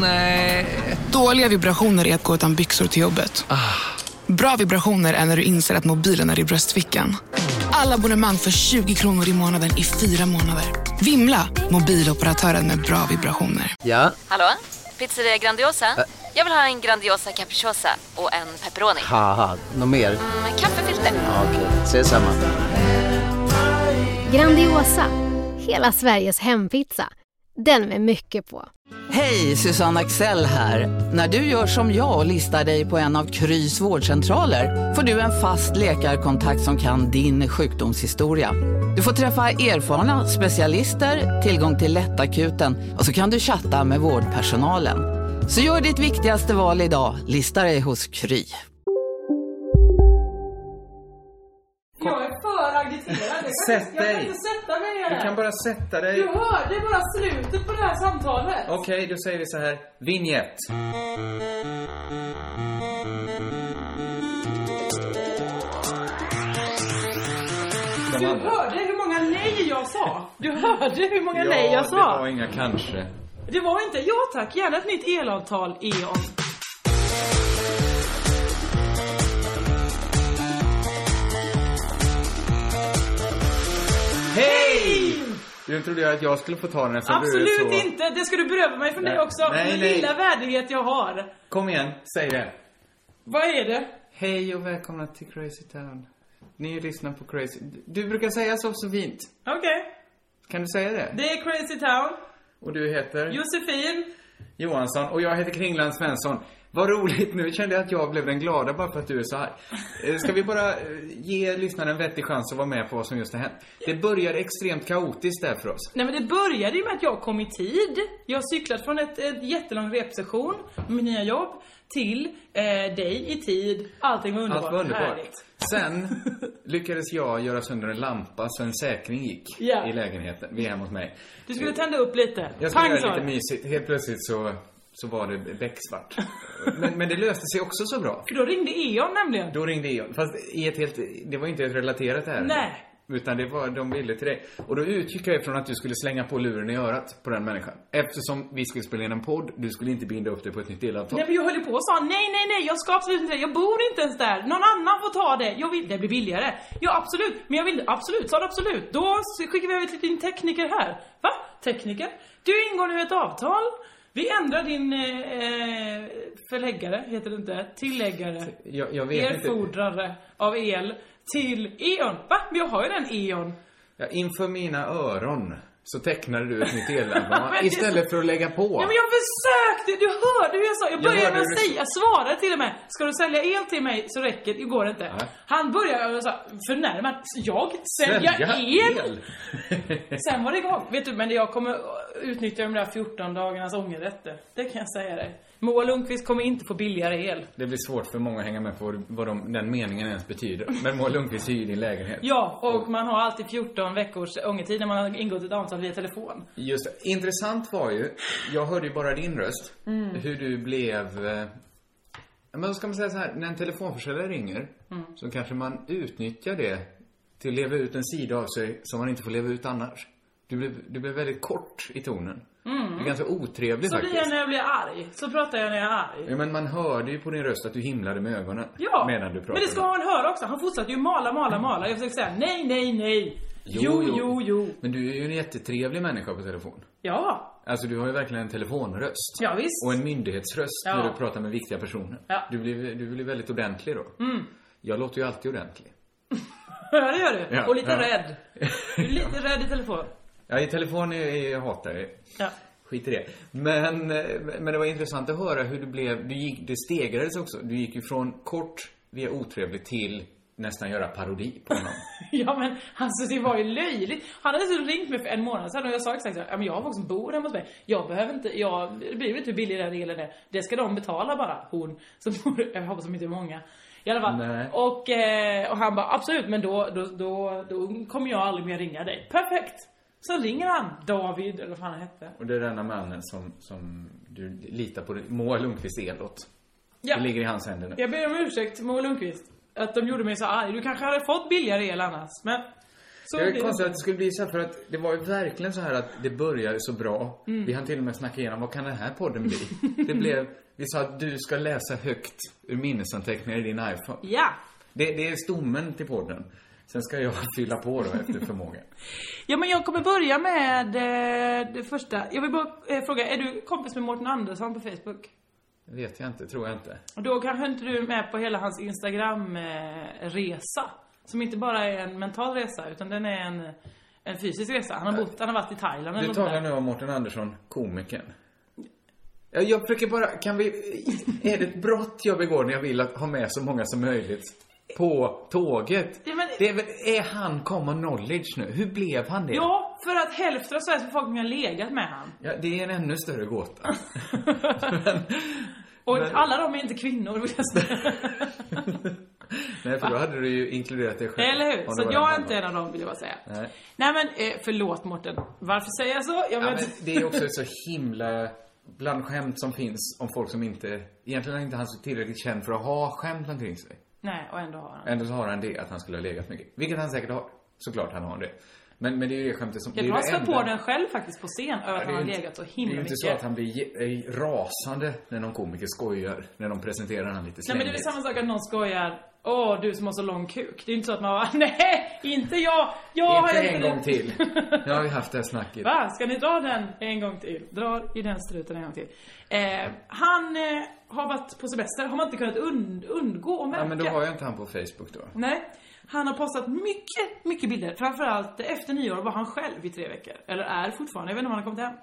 Nej. Dåliga vibrationer är att gå utan byxor till jobbet. Bra vibrationer är när du inser att mobilen är i bröstfickan. Alla abonnemang för 20 kronor i månaden i fyra månader. Vimla! Mobiloperatören med bra vibrationer. Ja, Hallå? Pizzeria Grandiosa? Jag vill ha en Grandiosa capriciosa och en pepperoni. haha. Något mer? Med kaffefilter. Ja, Okej, ses samma. Grandiosa, hela Sveriges hempizza. Den med mycket på. Hej, Susanne Axel här. När du gör som jag och listar dig på en av Krys vårdcentraler får du en fast läkarkontakt som kan din sjukdomshistoria. Du får träffa erfarna specialister, tillgång till lättakuten och så kan du chatta med vårdpersonalen. Så gör ditt viktigaste val idag, lista dig hos Kry. Jag är för agiterad. Jag kan, Sätt inte, jag kan dig. inte sätta mig ner. Du kan bara sätta dig. Du hörde bara slutet på det här samtalet. Okej, då säger vi så här. Vignett. Du hörde hur många nej jag sa. Du hörde hur många Ja, nej jag det var sa. inga kanske. Det var inte, ja tack, gärna ett nytt elavtal, E.ON. Hej! Du trodde jag att jag skulle få ta den eftersom du är Absolut så... inte, det ska du beröva mig från Nej, dig också. nej, Den nej. lilla värdighet jag har. Kom igen, säg det. Vad är det? Hej och välkomna till Crazy Town. Ni lyssnar på Crazy... Du brukar säga så så fint. Okej, Kan du säga det? det är Crazy Town. Och du heter? Josefin. Johansson och jag heter Kringland Svensson. Vad roligt, nu kände jag att jag blev den glada bara för att du är så här. Eh, Ska vi bara eh, ge lyssnaren en vettig chans att vara med på vad som just har hänt? Det började extremt kaotiskt där för oss. Nej men det började ju med att jag kom i tid. Jag har cyklat från ett, ett jättelång repsession med mitt nya jobb till eh, dig i tid. Allting var underbart. Allt var underbart. Härligt. Sen lyckades jag göra sönder en lampa så en säkring gick Ja. i lägenheten. Vi är hemma hos mig. Du skulle tända upp lite. Jag skulle Pang, göra sa det du. lite mysigt. Helt plötsligt så, så var det becksvart. Men, men det löste sig också så bra. För då ringde E.ON nämligen. Då ringde Eon. Fast i ett helt, det var inte ett relaterat ärende. Nej. Utan det var, de ville till dig. Och då utgick jag ifrån att du skulle slänga på luren i örat på den människan. Eftersom vi skulle spela in en podd, du skulle inte binda upp dig på ett nytt delavtal. Nej men jag höll ju på och sa nej, nej, nej, jag ska absolut inte, jag bor inte ens där. Någon annan får ta det. Jag vill, det blir billigare. Ja absolut, men jag vill, absolut, sa du absolut. Då skickar vi över till din tekniker här. Va? Tekniker? Du ingår nu ett avtal. Vi ändrar din eh, eh, förläggare, heter det inte, tilläggare, Jag, jag vet inte. erfordrare av el till E.ON. Va? Men jag har ju den E.ON. Ja, inför mina öron så tecknade du ett nytt elavtal. Men det- Istället för att lägga på. Ja, men jag försökte! Du hörde hur jag sa. Jag började hörde med hur att du- säga, jag svarade till och med. Ska du sälja el till mig så räcker det, det går inte. Nej. Han började och sa, förnärmat. Jag? Sälja, el? Sen var det igång. Vet du, men jag kommer utnyttja de där 14 dagarnas ångerrätter. Det kan jag säga dig. Moa Lundqvist kommer inte få billigare el. Det blir svårt för många att hänga med på vad de, den meningen ens betyder. Men Moa Lundqvist hyr din lägenhet. Ja, och man har alltid 14 veckors ångertid när man har ingått ett avtal via telefon. Just det. Intressant var ju, jag hörde ju bara din röst, Mm. hur du blev... eh, Men då ska man säga så här, när en telefonförsäljare ringer Mm. så kanske man utnyttjar det till att leva ut en sida av sig som man inte får leva ut annars. Du blev, du blev väldigt kort i tonen. Det är ganska Mm. otrevligt Så blir faktiskt. jag när jag blir arg. Så pratar jag när jag är arg. Ja, men man hörde ju på din röst att du himlade med ögonen Ja, medan du pratade. men det ska han höra också. Han fortsatte ju mala, mala, mala. Jag försökte säga nej, nej, nej. Jo, jo, jo. Men du är ju en jättetrevlig människa på telefon. Ja, Alltså du har ju verkligen en telefonröst. ja visst. Och en myndighetsröst Ja. när du pratar med viktiga personer. Ja. Mm. Du, blir, du blir väldigt ordentlig då. Jag låter ju alltid ordentlig. Ja, det gör du. Ja, och lite ja. rädd. Du är lite rädd i telefon. Ja, i telefon är, är, jag hatar jag det. Ja. Skit i det. Men, eh, men det var intressant att höra hur du blev, du gick, det stegrades också. Du gick ju från kort via otrevlig till nästan göra parodi på honom. ja, men alltså det var ju löjligt. Han hade så ringt mig för en månad sedan och jag sa exakt så här, ja men jag har folk som bor hemma hos mig. Jag behöver inte, jag bryr mig inte hur billig den elen är. Det ska de betala bara, hon. Som bor, jag hoppas de inte är många. I alla fall. Nej. Och, eh, och han bara, absolut men då, då, då, då kommer jag aldrig mer ringa dig. Perfekt! Så ringer han David, eller vad fan han hette. Och det är denna mannen som, som du litar på, Moa Lundqvist Elot. Ja. Det ligger i hans händer nu. Jag ber om ursäkt Moa Lundqvist. Att de gjorde mig så arg. Du kanske hade fått billigare el annars. Men Så det blir är det. konstigt att det skulle bli så här, för att det var ju verkligen så här att det började så bra. Vi hann till och med snacka igenom, vad kan den här podden bli? Det blev, vi sa att du ska läsa högt ur minnesanteckningar i din iPhone. Ja. Det, det är stommen till podden. Sen ska jag fylla på då efter förmåga. Ja men jag kommer börja med eh, det första. Jag vill bara eh, fråga, är du kompis med Mårten Andersson på Facebook? Det vet jag inte, tror jag inte. Och Då kanske inte du är med på hela hans Instagram-resa. Som inte bara är en mental resa, utan den är en, en fysisk resa. Han har, bott, han har varit i Thailand Du något talar där. nu om Mårten Andersson, komikern. Ja, Jag försöker bara, kan vi, är det ett brott jag begår när jag vill att ha med så många som möjligt på tåget? Ja, men- det är, väl, är han common knowledge nu? Hur blev han det? Ja, för att hälften av Sveriges befolkning har legat med han. Ja, det är en ännu större gåta. Och Men- alla de är inte kvinnor vill jag säga. Nej, för då hade du ju inkluderat dig själv. Eller hur? Om Så det var jag den är inte en halvan. av dem vill jag bara säga. Nej. Nej men eh, förlåt Mårten. Varför säger jag så? Jag Ja, vet men inte. det är också så himla bland skämt som finns om folk som inte, egentligen är inte han så tillräckligt känd för att ha skämt omkring sig. Nej, och ändå har han. Ändå så har han det, att han skulle ha legat mycket. Vilket han säkert har. Såklart han har det. Men, men det är ju det skämtet som... Jag det är har det spär på enda- den själv faktiskt på scen över att han det är har ju inte- legat så himla Det är ju inte mycket. så att han blir je- är rasande när någon komiker skojar. När de presenterar han lite Nej men slängigt. det är väl samma sak att någon skojar Åh, du som har så lång kuk. Det är inte så att man bara, nej, inte jag! Jag har Inte en gång till. Nu har vi haft det här snacket. Va? Ska ni dra den en gång till? Dra i den struten en gång till. Eh, han eh, har varit på semester, har man inte kunnat und- undgå att märka. Ja, men då har jag inte han på Facebook då. Nej. Han har postat mycket, mycket bilder. Framförallt efter nyår var han själv i tre veckor. Eller är fortfarande, jag vet inte om han har kommit hem.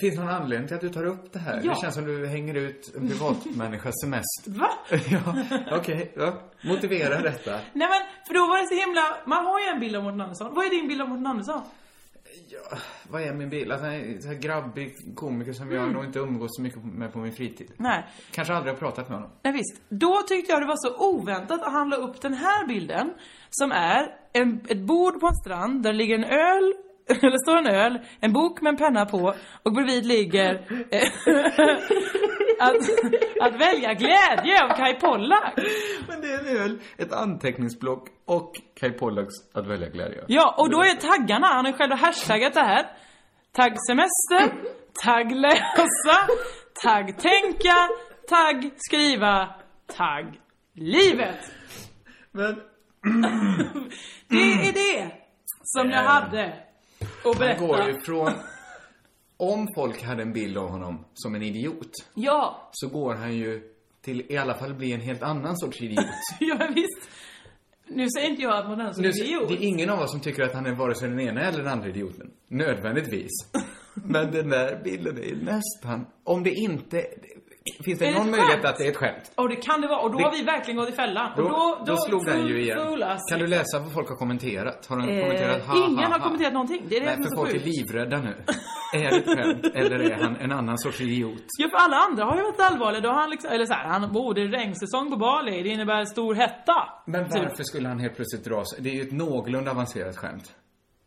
Finns det någon anledning till att du tar upp det här? Ja. Det känns som du hänger ut en privatmänniskas semester. Va? ja, okej. ja. Motivera detta. Nej men, för då var det så himla... Man har ju en bild av Mårten Andersson. Vad är din bild av Mårten Andersson? Vad är min bild? Att han är en så här grabbig komiker som jag nog inte umgås så mycket med på min fritid. Mm. Nej. Kanske aldrig har pratat med honom. Nej visst. Då tyckte jag det var så oväntat att han la upp den här bilden. Som är en, ett bord på en strand, där ligger en öl, eller står en öl, en bok med en penna på och bredvid ligger eh, att, att välja glädje av Kai Pollak. Men det är väl ett anteckningsblock och Kai Pollaks att välja glädje. Ja, och då är taggarna, han har själv hashtaggat det här. Tagg semester, tagg läsa, tagg tänka, tagg skriva, tagg livet. Men Det är det som jag Eh, hade att han går ju berätta. från... Om folk hade en bild av honom som en idiot Ja, så går han ju till i alla fall bli en helt annan sorts idiot. ja men visst. Nu säger inte jag att man är en Nu, det är idiot. ingen av oss som tycker att han är vare sig den ena eller den andra idioten. Nödvändigtvis. Men den där bilden är ju nästan... Om det inte... Finns det, Är det någon ett möjlighet skämt? att det är ett skämt? Och det kan det vara. Och då Det- har vi verkligen gått i fällan. Då, och då, då slog den full- ju igen. fullas. Kan du läsa vad folk har kommenterat? Har de Eh, kommenterat ha, ingen ha, har ha? kommenterat någonting. Det är det Nej, som är för så folk är sjukt. livrädda nu. är det ett skämt eller är han en annan sorts idiot? Ja, för alla andra har ju varit allvarliga. Då har han liksom, eller så här, han, oh, det är regnsäsong på Bali, det innebär stor hetta. Men Typ. varför skulle han helt plötsligt dra sig? Det är ju ett någorlunda avancerat skämt.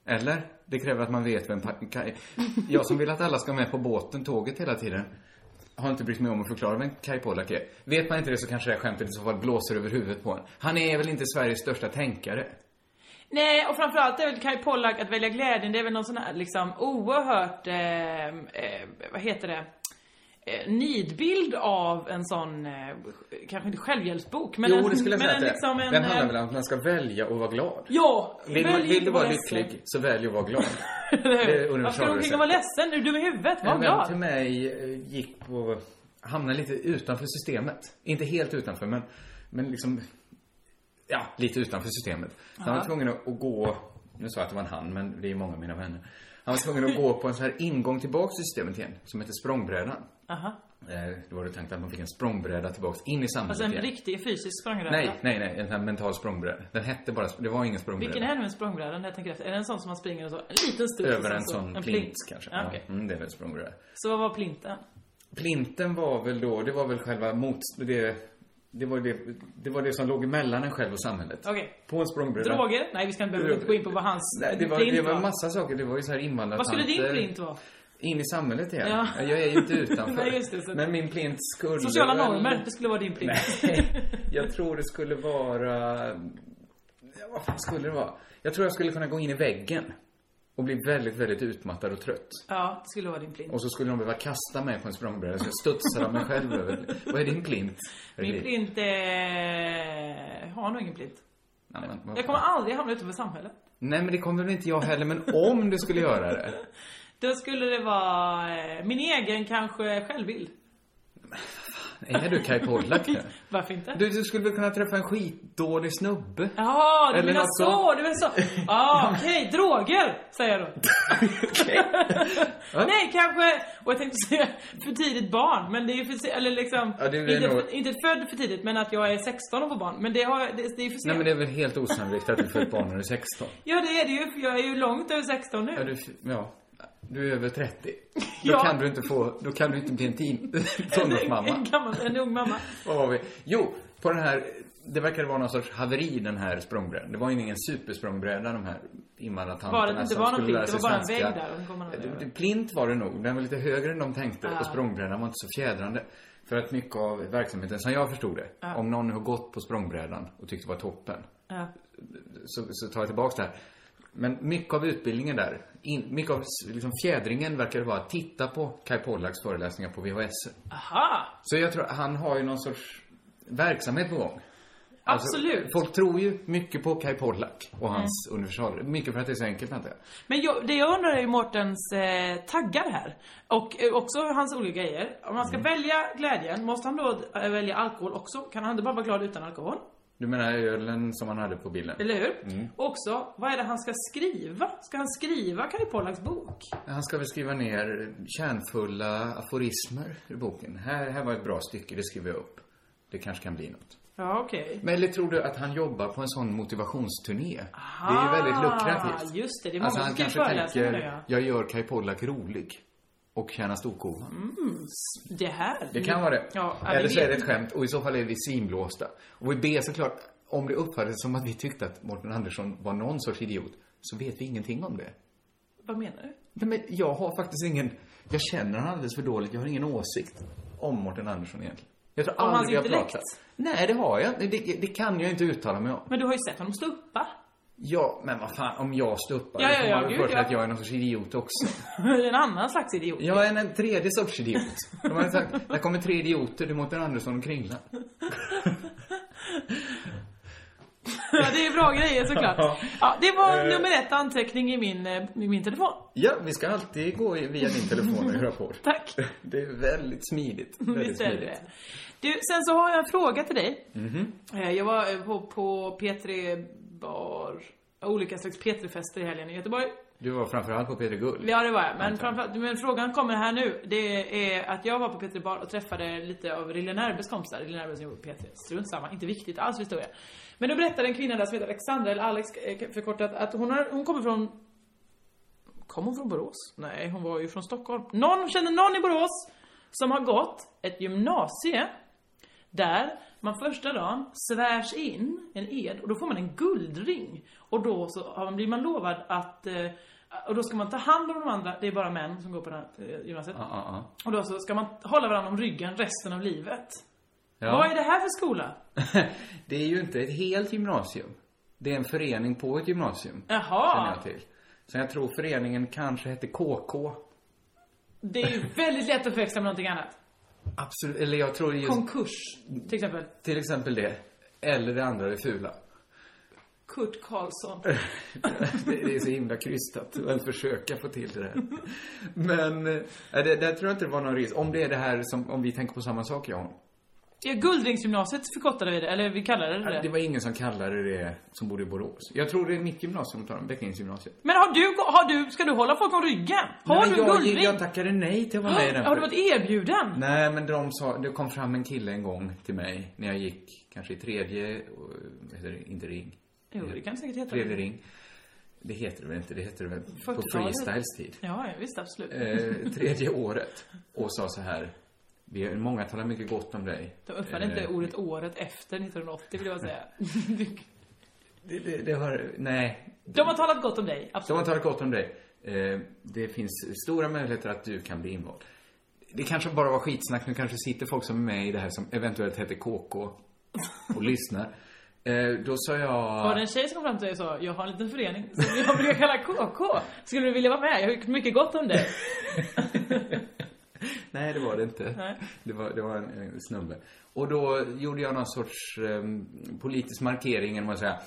Eller? Det kräver att man vet vem... pa- Kaj... Jag som vill att alla ska med på båten, tåget hela tiden. Har inte brytt mig om att förklara vem Kaj Pollak är. Vet man inte det så kanske det här skämtet i så fall blåser över huvudet på en. Han är väl inte Sveriges största tänkare? Nej, och framförallt är väl Kai Pollak att välja glädjen, det är väl någon sån här liksom oerhört, eh, eh, vad heter det? Eh, nidbild av en sån, eh, kanske inte självhjälpsbok, men jo, en, det skulle jag men säga en, att det är. liksom en... Den handlar eh, väl om att man ska välja och vara glad? Ja, Vill, man, välj vill inte du vara ledsen. lycklig, så välj att vara glad. Eller Det är hur? Varför ska du omkring och vara ledsen? Är du dum i huvudet? Var En vän till glad. mig eh, gick på, hamnade lite utanför systemet. Inte helt utanför, men, men liksom, ja, lite utanför systemet. Så han var tvungen att att gå, nu sa jag att det var en han, men det är många av mina vänner. Han var tvungen att gå på en sån här ingång tillbaks till systemet igen, som heter språngbrädan. Aha. Eh, Då var det tänkt att man fick en språngbräda tillbaks in i samhället Alltså en igen. riktig fysisk språngbräda. Nej, nej, nej, en sån här mental språngbräda. Den hette bara, det var ingen språngbräda. Vilken är nu en språngbräda? när Jag tänker efter. Är det en sån som man springer och så? En liten studs och Över sen en så- sån plint, alltså? kanske. Ja, okej. Ja, mm, det är väl språngbräda. Så vad var plinten? Plinten var väl då, det var väl själva mot, det, det var det, det var det som låg emellan en själv och samhället. Okej. På en språngbräda. Droger? Nej, vi ska inte behöva gå in på vad hans Nej, det var, plint det var en massa saker. Det var ju så här invandrartanter. Vad skulle din plint vara? In i samhället igen. Ja. Jag är ju inte utanför. Nej, just det, så- Men min plint skulle Sociala väl- normer, det skulle vara din plint. Nej, jag tror det skulle vara... ja, vad fan skulle det vara? Jag tror jag skulle kunna gå in i väggen. Och bli väldigt, väldigt utmattad och trött. Ja, det skulle vara din plint. Och så skulle de behöva kasta mig på en språngbräda så jag studsar av mig själv över. Vad är din plint? Min plint eh, har nog ingen plint. Nej, men, vad Jag kommer fan. aldrig hamna utanför samhället. Nej men det kommer väl inte jag heller, men om du skulle göra det. Då skulle det vara eh, min egen kanske självbild. Är du Kaj Pollak nu? Varför inte? Du, du skulle väl kunna träffa en skitdålig snubbe? Jaha, du Eller menar något så, du menar så. Ja, okej, droger, säger jag då. Nej, kanske, och jag tänkte säga för tidigt barn, men det är ju för se- eller liksom, Ja, det är inte, nog- inte född för tidigt, men att jag är 16 och får barn. Men det, har, jag- det, det är ju för sent. Nej men det är väl helt osannolikt att du får ett barn när du är 16. Ja, det är det ju, för jag är ju långt över 16 Ja, nu. du, ja. du är över 30. Då Ja. kan du inte få, då kan du inte bli en tin, En, en, tonårsmamma. gammal, en ung mamma. Vad var vi? Jo, på den här, det verkade vara någon sorts haveri den här språngbrädan. Det var ju ingen supersprångbräda de här invandrartanterna Var det inte som var någon skulle plint? lära Det sig var bara en svenska. vägg där, och den kom man aldrig Det- över. det- Plint var det nog, den var lite högre än de tänkte Ja. och språngbrädan var inte så fjädrande. För att mycket av verksamheten, som jag förstod det, om någon har gått på språngbrädan och tyckte det var toppen, Ja. så, så tar jag tillbaka det här. Men mycket av utbildningen där, in, mycket av s- liksom fjädringen verkar vara att titta på Kai Pollaks föreläsningar på VHS. Aha, Så jag tror han har ju någon sorts verksamhet på gång. Alltså, absolut. Mm. folk tror ju mycket på Kai Pollak och hans universaler. Mycket för att det är så enkelt, antar jag. Men jag, det jag undrar är ju Mårtens eh, taggar här. Och eh, också hans olika grejer. Om man ska Mm. välja glädjen, måste han då eh, välja alkohol också? Kan han inte bara vara glad utan alkohol? Du menar ölen som han hade på bilden? Eller hur? Mm. Också, vad är det han ska skriva? Ska han skriva Kari Pollaks bok? Han ska väl skriva ner kärnfulla aforismer ur boken. Här, här var ett bra stycke, det skriver jag upp. Det kanske kan bli något. Ja, okej. Men eller tror du att han jobbar på en sån motivationsturné? det är ju väldigt lukrativt. Ah, just det. Det är Alltså många han som kan kanske föreläsa om det, tänker, jag gör Kai Pollak rolig. Och tjänar storkovan. ja. Det här. Det kan vara det. Ja, ja, eller vi så är det vet. ett skämt och i så fall är vi svinblåsta. Och vi ber såklart, om det uppfattades som att vi tyckte att Morten Andersson var någon sorts idiot, så vet vi ingenting om det. Vad menar du? Nej, men jag har faktiskt ingen... Jag känner honom alldeles för dåligt. Jag har ingen åsikt om Mårten Andersson egentligen. Jag tror Om hans aldrig vi har intellekt? pratat. Nej, det har jag inte. det, det kan jag inte uttala mig om. Men du har ju sett honom stuppa. Ja, men vad fan, om jag stuppar, Ja, då ja, får ja, man väl gud, för sig ja. att jag är någon sorts idiot också. en annan slags idiot. Jag är en tredje sorts idiot. De hade sagt, där kommer tre idioter, det är Mårten Andersson och Kringlan. Ja, det är bra grejer såklart. Ja. Ja, det var Eh. nummer ett anteckning i min, eh, i min telefon. Ja, vi ska alltid gå i- via din telefon och höra på. Tack. Det är väldigt smidigt. Väldigt Visst är det smidigt. det. Du, sen så har jag en fråga till dig. Eh, Jag var eh, på, på P3 Bar, olika slags P3-fester i helgen i Göteborg. Du var framförallt på Peter Gull. Ja, det var jag. Men, framförallt, men frågan kommer här nu. Det är att jag var på P3 Bar och träffade lite av Rille Nerbes kompisar. Rille Nerbe som jobbar på P3. Strunt samma, inte viktigt alls för historia. Men då berättade en kvinna där som heter Alexandra, eller Alex eh, förkortat, att hon, har, hon kommer från Kom hon från Borås? Nej, hon var ju från Stockholm. Någon känner någon i Borås som har gått ett gymnasie där man första dagen svärs in en ed och då får man en guldring. Och då så har man- blir man lovad att eh, och då ska man ta hand om de andra, det är bara män som går på det här eh, gymnasiet. Ja, ja, Och då så ska man hålla varandra om ryggen resten av livet. ja. Vad är det här för skola? Det är ju inte ett helt gymnasium. Det är en förening på ett gymnasium. Känner Jaha, jag till. Sen jag tror föreningen kanske hette KK. det är ju väldigt lätt att förväxla med någonting annat. Absolut. Eller jag tror just Konkurs, till exempel. till exempel det. Eller det andra, det fula. Kurt Karlsson. det det är så himla krystat att ens försöka få till det där. Men, eh, det, där tror jag inte det var någon risk. Om det är det här som, om vi tänker på samma sak, jag och hon. Ja, Guldringsgymnasiet förkortade vi det, eller vi kallade det Det det. var ingen som kallade det som bodde i Borås. Jag tror det är mitt gymnasium, tar de, Bäckingsgymnasiet. Men har du, har du, ska du hålla folk om ryggen? Har Nej, du en men jag, guldring? Jag tackade nej till att vara med i den. har du för- varit erbjuden? Nej, men de sa, det kom fram en kille en gång till mig när jag gick kanske i tredje, och, vad heter det, inte ring, Jo, det kan säkert heta. tredje ring. Det heter det väl inte, det heter det väl på 40-talet. freestyles tid. Ja, ja, visst absolut. Eh, tredje året och sa så här, vi, har- många talar mycket gott om dig. De uppfann inte ordet året efter 1980 vill jag säga. Det, det, det har, nej. De har talat gott om dig, De absolut. har talat gott om dig. Eh, det finns stora möjligheter att du kan bli invald. Det kanske bara var skitsnack, nu kanske sitter folk som är med i det här som eventuellt heter KK och lyssnar. Eh, då sa jag... Var det en tjej som kom fram till dig och sa Jag har en liten förening som jag brukar kalla KK. Skulle du vilja vara med? Jag har gjort mycket gott om dig. Nej, det var det inte. Nej. Det var, det var en, en eh, snubbe. Och då gjorde jag någon sorts ehm, politisk markering genom att säga...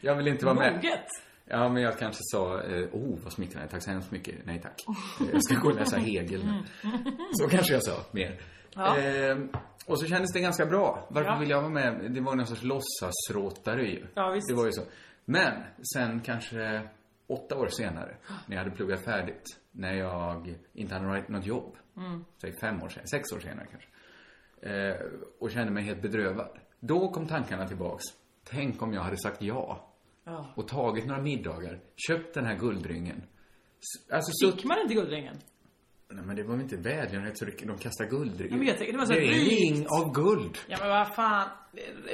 jag vill inte vara med. Moget. Ja, men jag kanske sa, eh, oh vad smickrande, tack så hemskt mycket. Nej tack. Eh, Jag ska gå och läsa Hegel nu. Så kanske jag sa mer. Ja. Ehm, och så kändes det ganska bra. Varför Ja. ville jag vara med? Det var någon sorts låtsasråtare ju. Ja, visst. Det var ju så. Men sen kanske åtta år senare, när jag hade pluggat färdigt, när jag inte hade något- något jobb. Mm. Säg fem år senare, sex år senare kanske. Eh, och kände mig helt bedrövad. Då kom tankarna tillbaks. Tänk om jag hade sagt ja Ja. och tagit några middagar, köpt den här guldringen. S- Alltså Fick så... man inte guldringen? Nej men det var väl inte välgörenhet så det- de kastar guldring. Ja, men jag tänker, det var så är en rikt. ring av guld. Ja men vad fan.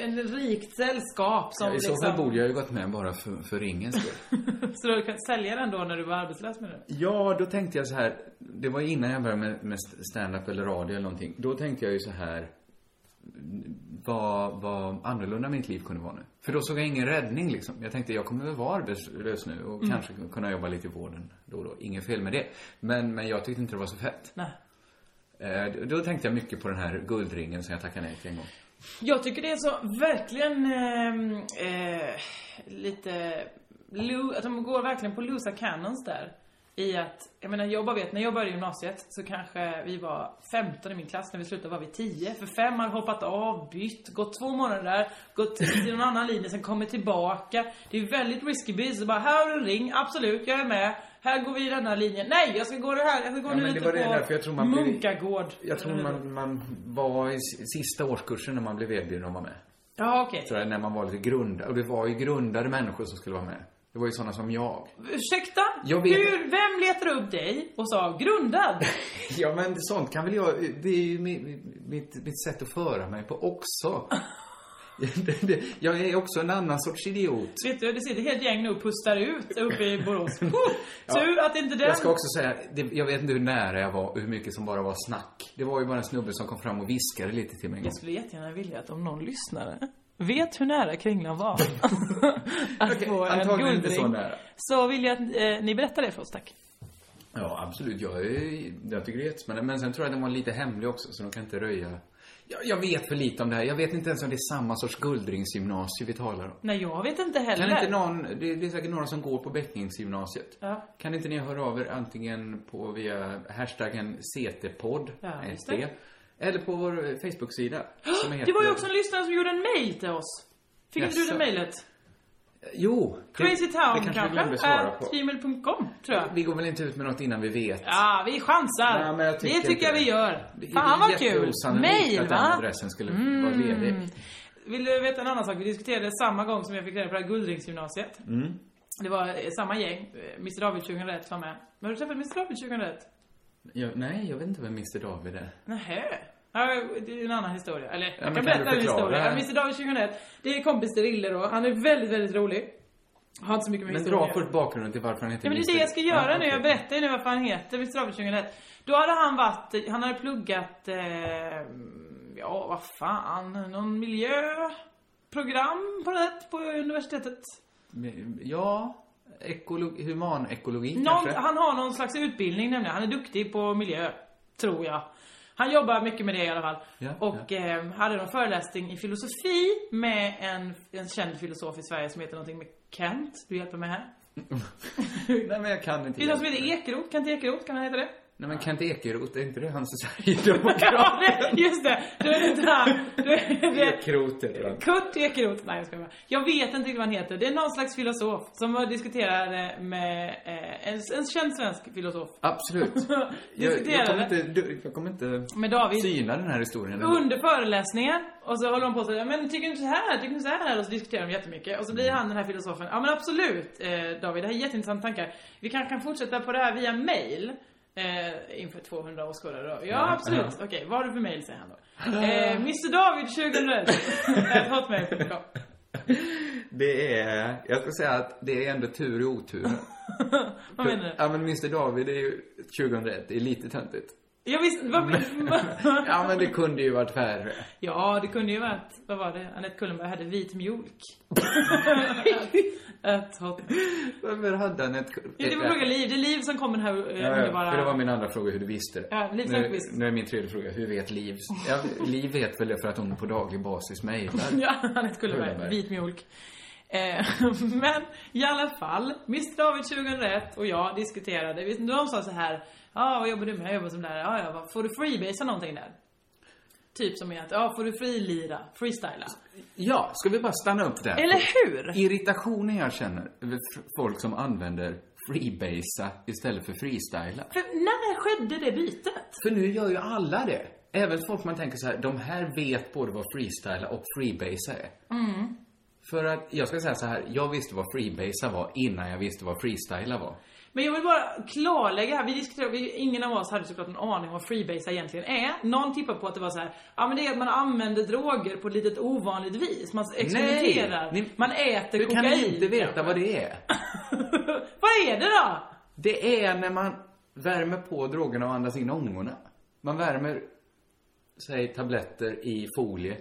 En rikt sällskap som Ja, I så liksom... fall borde jag ju gått med bara för, för ringens skull. Så du kan sälja den då när du var arbetslös med det? Ja, då tänkte jag så här. Det var innan jag började med, med stand-up eller radio eller någonting. Då tänkte jag ju så här. Vad, vad annorlunda mitt liv kunde vara nu. För då såg jag ingen räddning liksom. Jag tänkte jag kommer väl vara arbetslös nu och Mm. kanske kunna jobba lite i vården då och då. Inget fel med det. Men, men jag tyckte inte det var så fett. Nej. Eh, då- då tänkte jag mycket på den här guldringen som jag tackade nej till en gång. Jag tycker det är så verkligen ehm, eh, lite... Lo, att de går verkligen på losa cannons där. I att, jag menar jag bara vet, när jag började gymnasiet så kanske vi var 15 i min klass, när vi slutade var vi 10. För fem hade hoppat av, bytt, gått två månader där, gått till någon annan linje, sen kommit tillbaka. Det är väldigt risky business, så bara här har du en ring, absolut jag är med. Här går vi i denna linjen. Nej, jag ska gå det här, jag ska gå Ja, nu men det lite var på det där, för jag tror man blir- Munkagård. Jag tror man, man var i s- sista årskursen när man blev erbjuden att vara med. Ja, okej. tror jag, när man var lite grundad. Och det var ju grundade människor som skulle vara med. Det var ju sådana som jag. Ursäkta? Jag vet- Hur, vem letade upp dig och sa grundad? Ja, men sånt kan väl jag... Det är ju mi- mitt, mitt sätt att föra mig på också. Det- det- jag är också en annan sorts idiot. Vet du, det sitter ett helt gäng nu och pustar ut uppe i Borås. Oh, Tur att inte den... Jag ska också säga, det, jag vet inte hur nära jag var och hur mycket som bara var snack. Det var ju bara en snubbe som kom fram och viskade lite till mig en gång. Jag skulle jättegärna vilja att om någon lyssnare vet hur nära Kringlan var att Okej, få en antagligen inte så guldring. nära. Så vill jag att eh, ni berättar det för oss, tack. Ja, absolut. Jag, är- jag tycker det är jättespännande. Men sen tror jag att den var lite hemlig också, så de kan inte röja. Jag, jag vet för lite om det här. Jag vet inte ens om det är samma sorts guldringsgymnasium vi talar om. Nej, jag vet inte heller. Kan inte någon, det, det är säkert några som går på Bäckningsgymnasiet. Ja. Kan inte ni höra av er antingen på via hashtaggen CT-podd, Ja, just SD, det. eller på vår eh, Facebook-sida. som Det heter- var ju också en lyssnare som gjorde en mail till oss. Fick inte du Jaså. det mailet? Jo! det- Crazytown det kanske vi kanske? glömde svara på. At gmail.com, tror jag. Vi går väl inte ut med något innan vi vet. Ja, vi chansar. Nej, men jag tycker det tycker jag inte vi det. gör. Det är Fan vad kul. jätteosannolikt Mail att den va? Mm. adressen skulle vara ledig. Vill du veta en annan sak? Vi diskuterade samma gång som jag fick reda på det här Guldringsgymnasiet. Mm. Det var eh, samma gäng. Eh, Mr David 2001 var med. Men har du träffat Mr David 2001? Jag, nej, jag vet inte vem Mr David är. Nähä. Ja, det är en annan historia. Eller, jag men kan kan berätta du en förklara? historia. Ja, Mr David 2001, det är kompis till Rille då. Han är väldigt, väldigt rolig. Har inte så mycket med Men historia att dra göra. först bakgrunden till varför han heter Ja, men det är det jag ska göra nu. Jag berättar ju nu varför han heter Mr. David 2001. Då hade han varit, han hade pluggat, eh, ja vad fan, någon miljöprogram på det på universitetet. berätta. Ja, ekolog, humanekologi Någon, kanske? han har någon slags utbildning nämligen. Han är duktig på miljö, tror jag. Han jobbar mycket med det i alla fall. Ja, och Eh, hade någon föreläsning i filosofi med en, en känd filosof i Sverige som heter någonting med Kent. Du hjälper mig här. Nej, men jag kan inte. Det är någon som heter Ekeroth. Kent Ekeroth, kan han heta det? Nej, men Kent Ekeroth, är inte det han som Ja, Sverigedemokrat? det- just det! Du är inte han. Du är det. Ekeroth heter han. Kurt Ekeroth. Nej, jag skojar bara. Jag vet inte riktigt vad han heter. Det är någon slags filosof som diskuterar med eh, en, en känd svensk filosof. Absolut. Jag, jag kommer Diskuterade inte, du- jag kommer inte med David. syna den här historien. ändå. Under föreläsningen. Och så håller de på så här, men tycker du inte så här? Tycker du inte så här? Och så diskuterar de jättemycket. Och så blir han den här filosofen. Ja men absolut eh, David, det här är jätteintressanta tankar. Vi kanske kan fortsätta på det här via mail. Eh, inför 200 åskådare då. Ja, absolut. aha. Okej, vad har du för mail säger han då. Eh, Mr David 2001. Hotmail.com. Det är, jag ska säga att det är ändå tur i otur. Vad menar du? Ja, men Mr David är ju 2001, det är lite töntigt. Jag visste, vad, Ja, men det kunde ju varit värre. Ja, det kunde ju varit, vad var det? Anette Kullenberg hade vit mjölk. Ett hot. Varför hade han ett... Ja, det var fråga Liv. Det är Liv som kommer här eh, Eh, Ja, ja, underbara... för det var min andra fråga hur du visste det. Ja, Liv nu, Sundqvist. nu är min tredje fråga, hur vet Liv? Ja, Liv vet väl det för att hon på daglig basis mejlar. Ja, Anette Kullenberg. Kullenberg. Vit mjölk. Eh, men i alla fall, Mr David 2001 och jag diskuterade. Visst, De sa så här, ja ah, vad jobbar du med? Jag jobbar som lärare. Ja, ja, vad- får du freebasea någonting där? Typ som är att, ja ah, får du frilira, freestyla? Ja, ska vi bara stanna upp där? Eller hur? Irritationen jag känner över f- folk som använder freebasea istället för freestyla. För när skedde det bytet? För nu gör ju alla det. Även folk man tänker så här, de här vet både vad freestyla och freebasea är. Mm. För att, jag ska säga så här, jag visste vad freebasea var innan jag visste vad freestyla var. Men jag vill bara klarlägga här, vi diskuterade, vi, ingen av oss hade såklart en aning om vad freebase egentligen är. Någon tippade på att det var så här, ja men det är att man använder droger på ett litet ovanligt vis. Man experimenterar, ni- man äter Du kokain. kan inte veta vad det är. Vad är det då? Det är när man värmer på drogerna och andas in ångorna. Man värmer, säg tabletter i folie,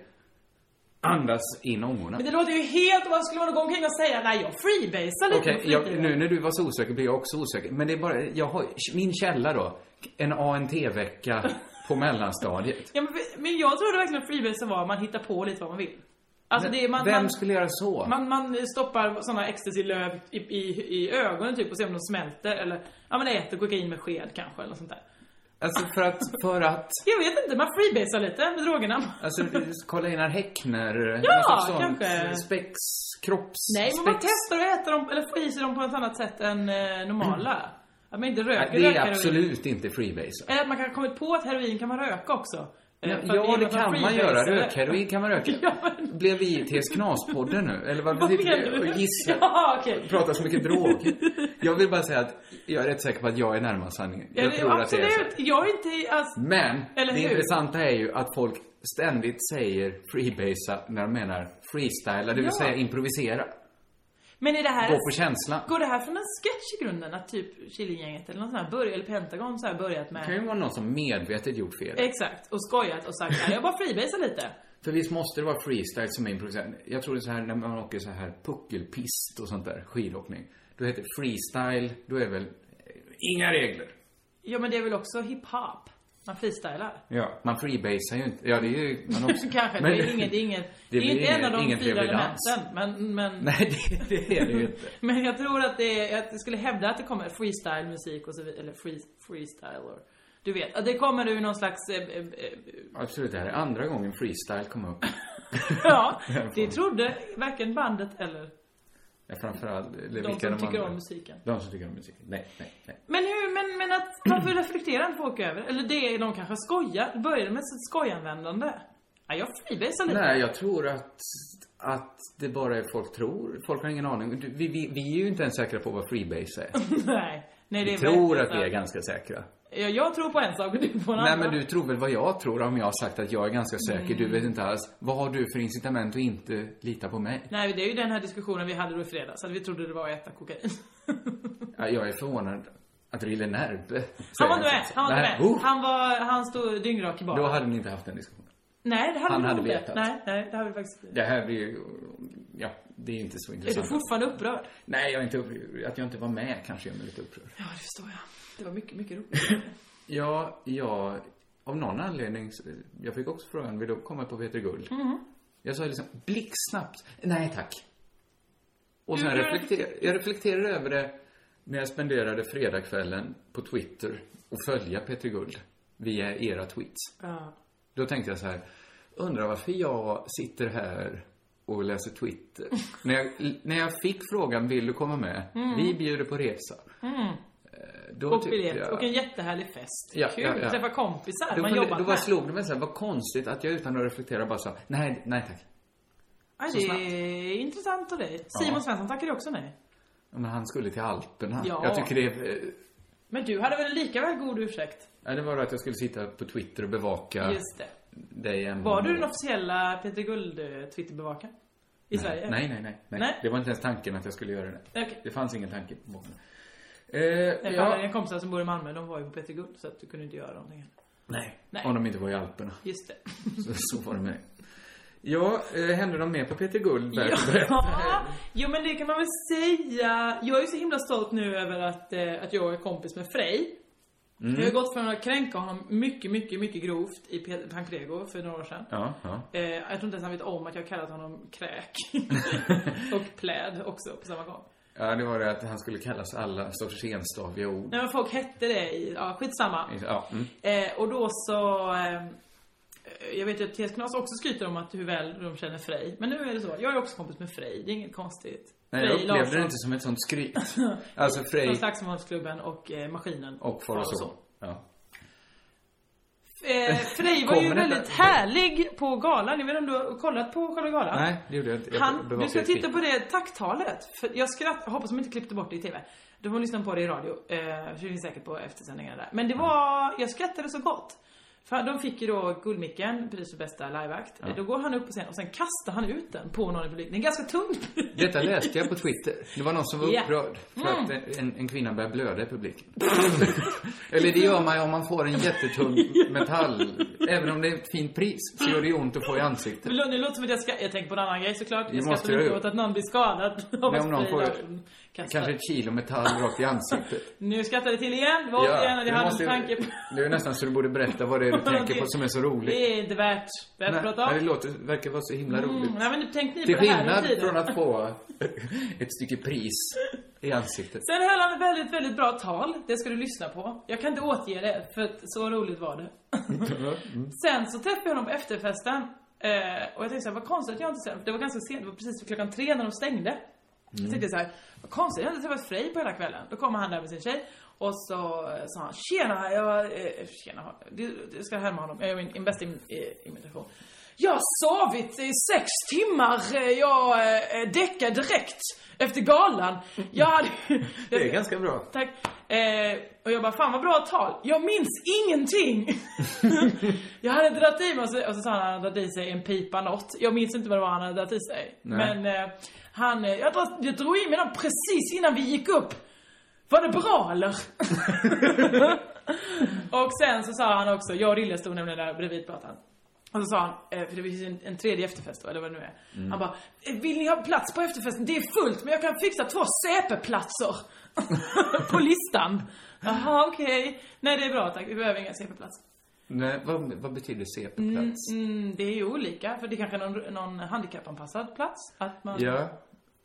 andas in ångorna. Men det låter ju helt, vad skulle man gå omkring och säga, nej jag freebasar lite Okej, på jag- fritiden." nu när du var så osäker blir jag också osäker. Men det är bara, jag har, min källa då, en ANT-vecka på mellanstadiet. Ja, men, men jag trodde verkligen att freebase var, man hittar på lite vad man vill. Alltså det är man, Vem man, skulle göra så? man, man stoppar såna ecstasy-löv i, i, i ögonen typ och ser om de smälter eller, ja man äter kokain med sked kanske eller något sånt där. Alltså för att, för att, Jag vet inte, man freebasar lite med drogerna. alltså kolla Einar Häckner, Ja, någon sorts sånt, kanske. spex, kropps, Nej, men man spex- testar att äta dem, eller få i sig dem på ett annat sätt än eh, normala. Att man inte Nej, röker Det rökheroin. är absolut inte freebase. Eller att man kan ha kommit på att heroin kan man röka också. Eh, Ja, för att ja är det något kan man freebase, göra. eller? Rökheroin kan man röka. Ja, men- Blev vi i TS Knas-podden nu? Eller vad Vad sitter menar vi du? och gissar? Ja, okej. Pratar så mycket drog. Jag vill bara säga att jag är rätt säker på att jag är närmast sanningen. Ja, Jag det- tror att det absolut. är så. Jag är inte alls... Men Eller det hur? intressanta är ju att folk ständigt säger freebasea när de menar freestyla, det vill Ja. säga improvisera. Men är det här... Gå på känslan. Går det här från en sketch i grunden? Att typ Killinggänget eller någon sån här började, eller Pentagon så här börjat med... Det kan ju vara någon som medvetet gjort fel. Exakt. Och skojat och sagt "Nej, jag bara freebasar lite. För visst måste det vara freestyle som är improviserat? Jag tror det är så här när man åker så här puckelpist och sånt där, skidåkning. Då heter det freestyle, då är det väl eh, inga regler. Ja, men det är väl också hiphop? Man freestylar. Ja. Man freebasar ju inte. Ja, det är ju man också. Kanske, Men- det är inget, det är inget, det är blir inte en ingen- av de ingen fyra trevlig dans. elementen. Men, men, Nej, det, det är det ju inte. men jag tror att det är, att jag skulle hävda att det kommer freestyle musik och så vidare, eller free, freestyler. Du vet, att det kommer ur någon slags, eh, eh, eh, Absolut, det här är andra gången freestyle kom upp. ja, det trodde varken bandet eller Ja, framförallt, eller de vilka som de tycker andra. om musiken. De som tycker om musik. Nej, nej, nej. Men hur, men, men att, varför reflekterar inte folk över det? Eller det är, de kanske skojar, Det började med sitt skojanvändande. Ja, jag freebasar lite. Nej, jag tror att, att det bara är folk tror. Folk har ingen aning. Du, Vi, vi, vi är ju inte ens säkra på vad freebase är. Nej. Nej, det Vi är tror väldigt att vi är sant. ganska säkra. Ja, jag tror på en sak och du på en Nej annan. men du tror väl vad jag tror om jag har sagt att jag är ganska säker, du Mm. vet inte alls. Vad har du för incitament att inte lita på mig? Nej, det är ju den här diskussionen vi hade då i fredags, att vi trodde det var att äta kokain. Ja, jag är förvånad att Rille Närbe Han säger var inte med, något sånt. han var inte Nej, med. oh, Han var, han stod dyngrak i baren. Då hade ni inte haft den diskussionen. Nej, det hade han vi hade nog inte. vetat. Nej, nej, det hade vi faktiskt inte. Det här blir ju... Ja, det är inte så Är du intressant. fortfarande upprörd? Nej, jag är inte upprörd. Att jag inte var med kanske gör mig lite upprörd. Ja, det förstår jag. Det var mycket, mycket roligt. Ja, jag... Av någon anledning, så- jag fick också frågan, vill du komma på Peter Guld? Mm-hmm. Jag sa liksom blixtsnabbt, nej tack. Och sen Hur- hur- reflekter, jag reflekterade över det när jag spenderade fredagskvällen på Twitter och följa Peter Guld via era tweets. ja. Då tänkte jag så här, undrar varför jag sitter här och läser Twitter. när, jag, när jag fick frågan, vill du komma med? Vi bjuder på resa. Eh, Då Mm. Och tyckte biljett jag- och en jättehärlig fest. Ja, Kul, ja, ja. träffa kompisar då, man då, jobbat då bara med. slog det mig såhär, vad konstigt att jag utan att reflektera bara sa, nej, nej tack. Ja, så det snabbt. är intressant av dig. Simon Svensson tackade också nej. Ja, Men han skulle till Alperna. Ja. Jag tycker det är, eh, Men du hade väl en lika väl god ursäkt? ja, det var då att jag skulle sitta på Twitter och bevaka Just det. dig en Var du den officiella Peter Guld-twitterbevakaren? I Sverige? Nej, nej, nej, nej. Nej. Det var inte ens tanken att jag skulle göra det. Okej. Det fanns ingen tanke på bakom det. Eh, Nej, för alla ja, dina kompisar som bor i Malmö, de var ju på Peter Guld så att du kunde inte göra någonting. Nej. Nej. Om de inte var i Alperna. Just det. Så, så var det med. Ja, eh, hände de mer på Peter Guldberg? Ja, jo men det kan man väl säga. Jag är ju så himla stolt nu över att, eh, att jag är kompis med Frej. Mm. Jag har gått från att kränka honom mycket, mycket, mycket grovt i Pe- Pancrego för några år sedan. Ja, ja. Eh, jag tror inte ens han vet om att jag har kallat honom kräk. och pläd också på samma gång. Ja, det var det att han skulle kallas alla sorters enstaviga ord. Nej men folk hette det i, ja skitsamma. Ja, mm. Eh, och då så... Eh, jag vet ju att T.S. Knas också skryter om att hur väl de känner Frej. Men nu är det så. Jag är också kompis med Frej. Det är inget konstigt. Nej, jag Frej upplevde Larsson det inte som ett sånt skryt. Alltså Frej Från Slagsmålsklubben och eh, Maskinen. och far och så. så. Ja. Eh, Frej var ju Kommer detta? väldigt härlig på galan. Jag vet inte om du har kollat på själva galan? Nej, det gjorde jag inte. Jag Han, bevakade du ska ett titta klipp. på det tacktalet. För jag skratt, jag hoppas de inte klippte bort det i TV. Du får lyssna på det i radio. Eh, för det finns säkert på eftersändningarna där. Men det Mm. var, jag skrattade så gott. För de fick ju då Guldmicken, pris för bästa liveakt. Eh, Då går han upp på scen och sen kastar han ut den på någon i publiken. Det är ganska tungt. Detta läste jag på Twitter. Det var någon som var Ja. Mm. upprörd för att en, en kvinna började blöda i publiken. Eller det gör man ju om man får en jättetung metall. Även om det är ett fint pris så gör det ju ont att få i ansiktet. Men Nu låter det som att jag ska, jag tänker på en annan grej såklart. Det Jag måste skrattar jag mycket ju. åt att någon blir skadad. av Nej, att om någon Frej får- Larsson kastar. Kanske ett kilo metall rakt i ansiktet. Nu skrattar det till igen. Det var återigen att du jag hade måste- en tanke på... Det är nästan så du borde berätta vad det är du tänker på som är så roligt. Det är inte värt, värt att prata om. det låter, verkar vara så himla roligt. Mm, nej men tänk ni Till på det här skillnad under tiden. från att få ett stycke pris i ansiktet. Sen höll han ett väldigt, väldigt bra tal. Det ska du lyssna på. Jag kan inte återge det, för att så roligt var det. Sen så träffade jag honom på efterfesten. Eh, och jag tänkte såhär, vad konstigt att jag inte sett Det var ganska sent, det var precis vid klockan tre när de stängde. Jag tänkte såhär, vad konstigt, jag har inte träffat Frej på hela kvällen. Då kommer han där med sin tjej. Och så eh, sa han, tjena, jag, eh, tjena, du, du ska härma honom. Jag gör min, min bästa im, eh, imitation. Jag har sovit i sex timmar, Eh, jag eh, däckade direkt efter galan. Jag hade... Det är ganska bra. Tack. Eh, och jag bara, fan vad bra tal. Jag minns ingenting. jag hade dragit i mig, och så, och så sa han att han hade dragit i sig en pipa något. Jag minns inte vad det var han hade dragit i sig. Men eh, han, eh, jag, drog, jag drog i mig den precis innan vi gick upp. Var det bra eller? och sen så sa han också, jag och Rille stod nämligen där bredvid pratan. Och så sa han, eh, för det finns ju en, en tredje efterfest då, eller vad det nu är. Han bara, "Eh, vill ni ha plats på efterfesten? Det är fullt men jag kan fixa två CP-platser. på listan. Jaha okej. Nej det är bra tack, vi behöver inga CP-platser. Nej, vad, vad betyder CP-plats? Mm, det är ju olika, för det kanske är någon, någon handikappanpassad plats. Att man, Ja,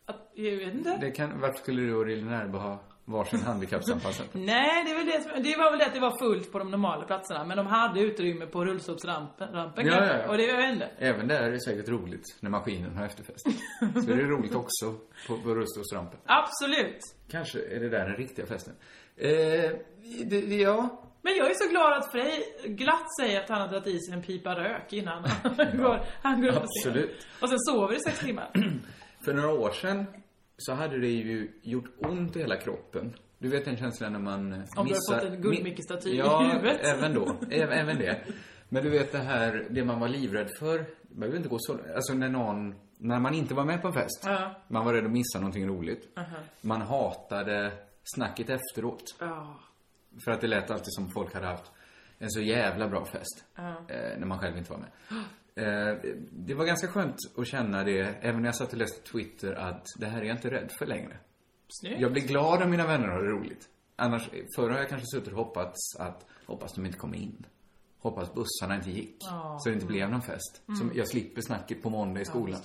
att, jag vet inte. det kan, varför skulle du och Rille Närbe ha varsin handikappsanpassad? Nej, det, är väl det, som, det var väl det att det var fullt på de normala platserna. Men de hade utrymme på rullstolsrampen rampen Ja, kanske. ja, ja. Och det jag vet inte. Även där är det säkert roligt när maskinen har efterfest. Så det är roligt också på, på rullstolsrampen. Absolut. Kanske är det där den riktiga festen. Eh, det, ja, Men jag är så glad att Frej glatt säger att han har dragit i sig en pipa rök innan han går, han går upp på scenen. absolut. Och sen sover i sex timmar. För några år sedan så hade det ju gjort ont i hela kroppen. Du vet den känslan när man eh, har missar... fått en guldmickestaty i ja, huvudet. även då. Även, även det. Men du vet det här, det man var livrädd för. Det behöver inte gå så... Alltså när någon... När man inte var med på en fest. Ja. Man var rädd att missa någonting roligt. Man hatade snacket efteråt. Ja. För att det lät alltid som folk hade haft en så jävla bra fest. Eh, när man själv inte var med. Eh, det var ganska skönt att känna det, även när jag satt och läste Twitter, att det här är jag inte rädd för längre. Snyggt. Jag blir glad om mina vänner har det roligt. Annars, förr har jag kanske suttit och hoppats att, hoppas de inte kom in. Hoppas bussarna inte gick. Så det inte blev någon fest. Mm. Som jag slipper snacket på måndag i skolan.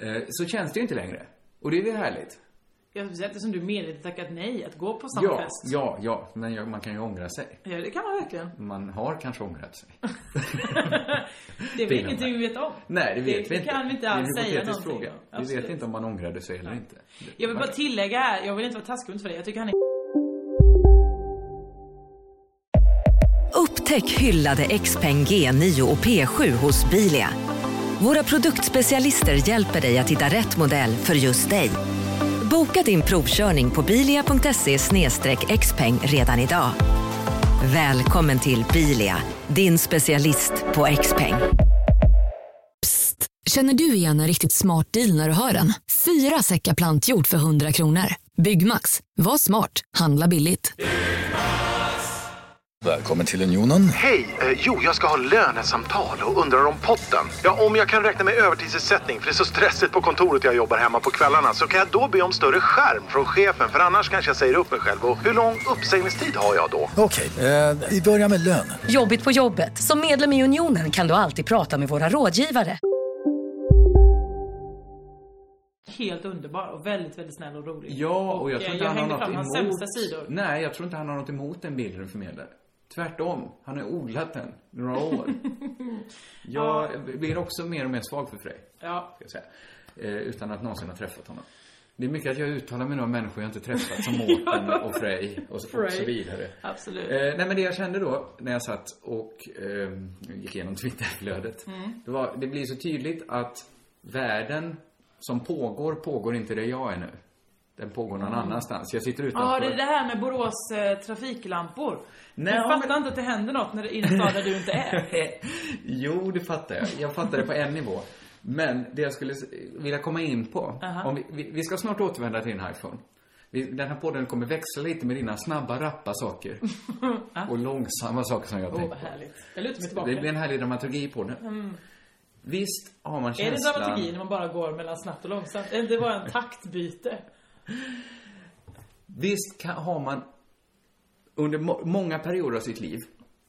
eh, så känns det ju inte längre. Och det är väl härligt. Jag har sett det som du medvetet tackat nej att gå på sån Ja, fest. ja, ja. Men jag, man kan ju ångra sig. Ja, det kan man verkligen. Man har kanske ångrat sig. Det är Det är väl ingenting vi vet om. Nej, det vet det vi inte. kan vi inte Det är en alls säga hypotetisk någonting fråga. om. Vi Absolut. vet inte om man ångrade sig eller inte. Jag vill bara tillägga här, jag vill inte vara taskig mot Frej. Jag tycker han är Upptäck hyllade XPeng G9 och P7 hos Bilia. Våra produktspecialister hjälper dig att hitta rätt modell för just dig. Boka din provkörning på bilia.se xpeng redan idag. Välkommen till Bilia, din specialist på XPeng. Känner du igen en riktigt smart deal när du hör den? Fyra säckar plantjord för 100 kronor. Byggmax. Var smart. Handla billigt. Välkommen till Unionen. Hej! Eh, jo, jag ska ha lönesamtal och undrar om potten. Ja, om jag kan räkna med övertidsersättning för det är så stressigt på kontoret jag jobbar hemma på kvällarna så kan jag då be om större skärm från chefen för annars kanske jag säger upp mig själv. Och hur lång uppsägningstid har jag då? Okej, eh, vi börjar med lön. Jobbigt på jobbet. Som medlem i Unionen kan du alltid prata med våra rådgivare. Helt underbar och väldigt, väldigt snäll och rolig. Ja, och jag tror eh, inte han har hängde något fram hans emot... sämsta sidor. Nej, jag tror inte han har något emot den bilden du förmedlar. Tvärtom. Han har odlat den några år. jag blir också mer och mer svag för Frej. Ja. Ska jag säga. Eh, utan att någonsin ha träffat honom. Det är mycket att jag uttalar mig nu om människor jag inte träffat som Mårten och Frej och, så- och så Frej. vidare. Absolut. Eh, nej men det jag kände då när jag satt och ehm, gick igenom Twitterflödet. Mm. Det, var, det blir så tydligt att världen som pågår, pågår inte där jag är nu. Den pågår någon Mm. annanstans. Jag sitter utanför. Ja, det är det här med Borås eh, trafiklampor. Nej, jag ja, fattar inte att det händer något när det är i en stad där du inte är. jo, det fattar jag. Jag fattar det på en nivå. Men det jag skulle s- vilja komma in på. Aha. Om vi, vi, vi ska snart återvända till din iPhone. Vi, den här podden kommer växla lite med dina snabba, rappa saker. och långsamma saker som jag Åh, tänkt Ah. Oh, vad på. härligt. Jag lutar mig tillbaka. Det blir en härlig dramaturgi på det. Mm. Visst har man Är det känslan... dramaturgi när man bara går mellan snabbt och långsamt? Eller Det var en taktbyte. Visst kan, har man under må- många perioder av sitt liv,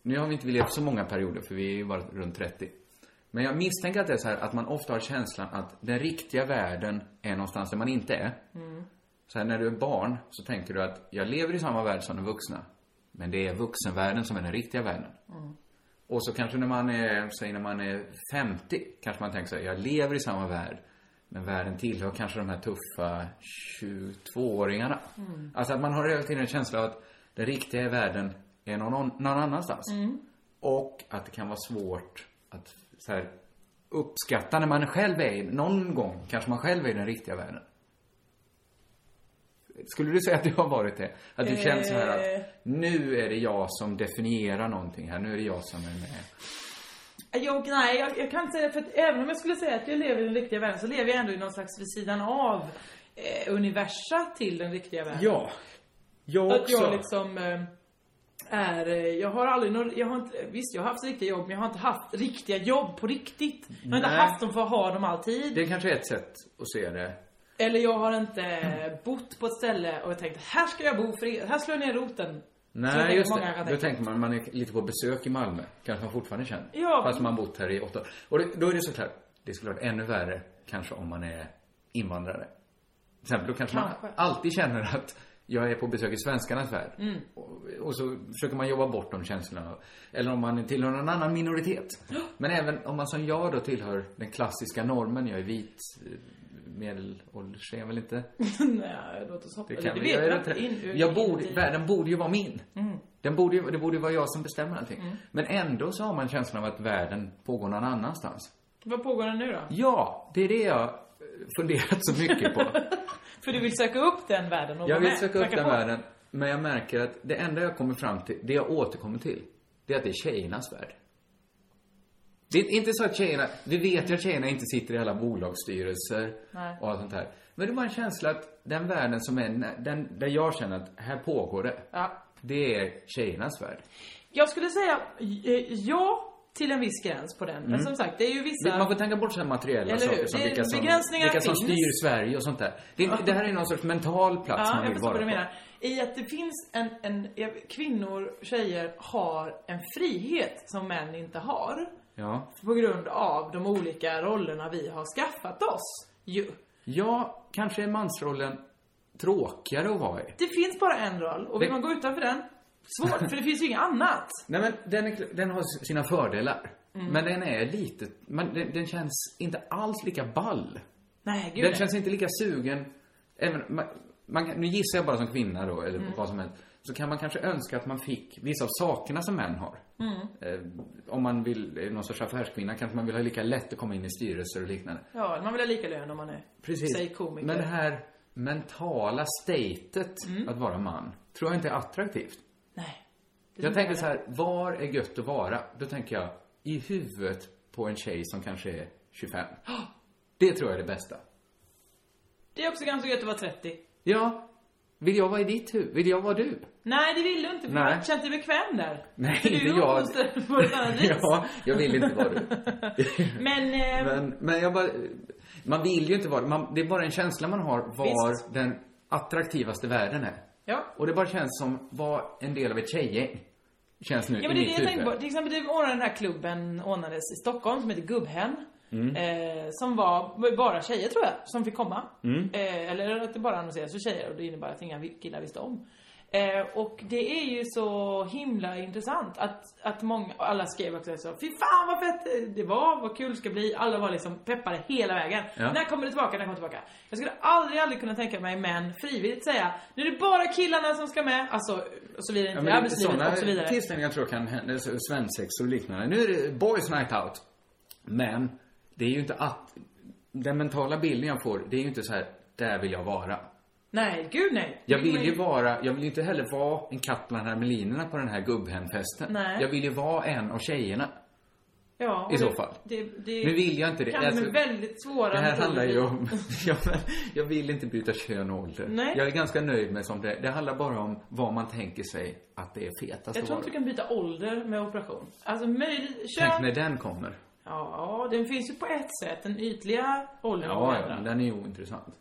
nu har vi inte vi levt så många perioder för vi är ju bara runt 30. Men jag misstänker att det är så här att man ofta har känslan att den riktiga världen är någonstans där man inte är. Mm. Så här, när du är barn så tänker du att jag lever i samma värld som de vuxna. Men det är vuxenvärlden som är den riktiga världen. Mm. Och så kanske när man är, säg när man är 50, kanske man tänker så här, jag lever i samma värld. Men världen tillhör kanske de här tuffa 22-åringarna. Mm. Alltså att man har hela tiden en känsla av att den riktiga världen är någon, någon annanstans. Mm. Och att det kan vara svårt att så här, uppskatta när man själv är i, någon gång kanske man själv är i den riktiga världen. Skulle du säga att du har varit det? Att du känner så här Eh. att nu är det jag som definierar någonting här, nu är det jag som är med. Jag, nej, jag, jag kan inte säga det, för att även om jag skulle säga att jag lever i den riktiga världen så lever jag ändå i någon slags vid sidan av eh, universa till den riktiga världen. Ja. Jag Att jag också. liksom eh, är, eh, jag har aldrig någon, jag har inte, visst jag har haft riktiga jobb men jag har inte haft riktiga jobb på riktigt. Jag har inte Nej. haft dem för att ha dem alltid. Det är kanske är ett sätt att se det. Eller jag har inte eh, bott på ett ställe och tänkt här ska jag bo för er. här slår jag ner roten. Så jag Nej, tänker just många det. kan Då tänka. tänker man, man är lite på besök i Malmö. Kanske man fortfarande känner. Ja. Fast man bott här i åtta år. Och det, då är det såklart, det är såklart ännu värre kanske om man är invandrare. Till exempel, då kanske, man Kanske. alltid känner att jag är på besök i svenskarnas värld. Mm. Och, och så försöker man jobba bort de känslorna. Eller om man tillhör någon annan minoritet. Men även om man som jag då tillhör den klassiska normen, jag är vit, eh, medelålders är jag väl inte. nej, låt oss hoppa. Det Det, kan det vi vet göra. jag inte. In, ur- jag in borde, i- världen borde ju vara min. Mm. Den borde ju, det borde ju vara jag som bestämmer allting. Mm. Men ändå så har man känslan av att världen pågår någon annanstans. Vad pågår det nu då? Ja, det är det jag eh, funderat så mycket på. För du vill söka upp den världen och jag vara vill med, söka upp knacka den på. världen, men jag märker att det enda jag kommer fram till, det jag återkommer till, det är att det är tjejernas värld. Det är inte så att tjejerna, vi vet ju att tjejerna inte sitter i alla bolagsstyrelser Nej. och allt sånt här. Men det är bara en känsla att den världen som är, nä- den, där jag känner att här pågår det. Ja. Det är tjejernas värld. Jag skulle säga eh, ja till en viss gräns på den. Mm. Men som sagt, det är ju vissa... Man får tänka bort sådana materiella Eller hur? saker som Det- vilka, som, begränsningar vilka som finns. styr Sverige och sånt där. Det, är, Ja. det här är någon sorts mental plats ja, man jag vill förstår vara vad du på. menar. I att det finns en, en... Kvinnor, tjejer har en frihet som män inte har. Ja. På grund av de olika rollerna vi har skaffat oss. Ju. ja, kanske är mansrollen tråkigare att vara i. Det finns bara en roll och vill Det- man gå utanför den, svårt för det finns ju inget annat. Nej men den, är, den har sina fördelar. Mm. Men den är lite, men den, den känns inte alls lika ball. Nej, gud Den nej. känns inte lika sugen. Även, man, man, kan- nu gissar jag bara som kvinna då, eller Mm. vad som helst. Så kan man kanske önska att man fick vissa av sakerna som män har. Mm. Eh, om man vill, eh, någon sorts affärskvinna, kanske man vill ha lika lätt att komma in i styrelser och liknande. Ja, man vill ha lika lön om man är säg komiker. Men det här mentala statet Mm. att vara man, tror jag inte är attraktivt. Nej. Det Jag tror tänker så här, var är gött att vara? Då tänker jag, i huvudet på en tjej som kanske är 25. Det tror jag är det bästa. Det är också ganska gött att vara 30. Ja. Vill jag vara i ditt huvud? Vill jag vara du? Nej, det vill du inte för Nej. du har känt dig bekväm där. Nej, för du inte är jag. uppfostrad på ett annat vis. Ja, jag vill inte vara du. Men, eh, Men, men jag bara, man vill ju inte vara man, Det är bara en känsla man har var Visst. den attraktivaste världen är. Ja. Och det bara känns som, var en del av ett tjejgäng. Känns nu ja, i typ men det är det mitt jag tänkte på. huvud. Till exempel, det ordnade den här klubben ordnades i Stockholm som heter Gubbhem. Mm. Eh, som var bara tjejer tror jag, som fick komma. Mm. Eh, eller att det bara annonserades för tjejer och det innebar att inga killar visste om. Eh, och det är ju så himla intressant att, att många, och alla skrev också så Fy fan vad fett det var, vad kul det ska bli. Alla var liksom peppade hela vägen. Ja. När kommer det tillbaka, när kommer det tillbaka? Jag skulle aldrig, aldrig kunna tänka mig män frivilligt säga Nu är det bara killarna som ska med, alltså och så vidare. Ja, Ja, men det- arbetslivet och så sådana vidare. tillställningar tror jag kan hända, så- svensex och liknande. Nu är det boys night out. Men, det är ju inte att, den mentala bilden jag får, det är ju inte så här, där vill jag vara. Nej, gud nej. Jag Det går vill ju in- vara, jag vill ju inte heller vara en katt bland hermelinerna på den här gubbhemfesten. Nej. Jag vill ju vara en av tjejerna. Ja, i och så det- fall. Det, det Nu vill jag inte det. Kan Alltså, med väldigt svåra Det här metoder. handlar ju om, jag, jag vill inte byta kön och ålder. Nej. Jag är ganska nöjd med som det Det handlar bara om vad man tänker sig att det är fetast Jag tror att vara. inte du kan byta ålder med operation. Alltså möjligt, Tänk kön... när den kommer. Ja, den finns ju på ett sätt, den ytliga åldern. Ja, ja, men den är ju ointressant.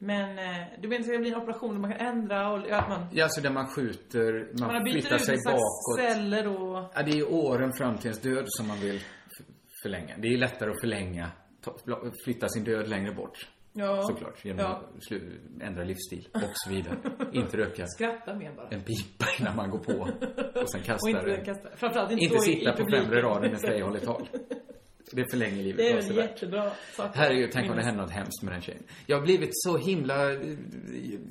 Men eh, du menar att det ska bli en operation där man kan ändra ålder? Att man, Ja, alltså där man skjuter, man, man, har byter flyttar ut sig en slags bakåt. celler och... Ja, det är ju åren fram till ens död som man vill f- förlänga. Det är ju lättare att förlänga, ta- flytta sin död längre bort. Ja. Såklart, genom Ja. att slu- ändra livsstil och så vidare. inte röka Skratta mer bara. en pipa innan man går på och sen kastar Och inte den. kasta. Framförallt inte, Inte, stå i- sitta i på publiken. främre raden när Freja håller tal. Det förlänger livet Det är väl avsevärt. jättebra sak. Herregud, tänk om det Minns. händer något hemskt med den tjejen. Jag har blivit så himla...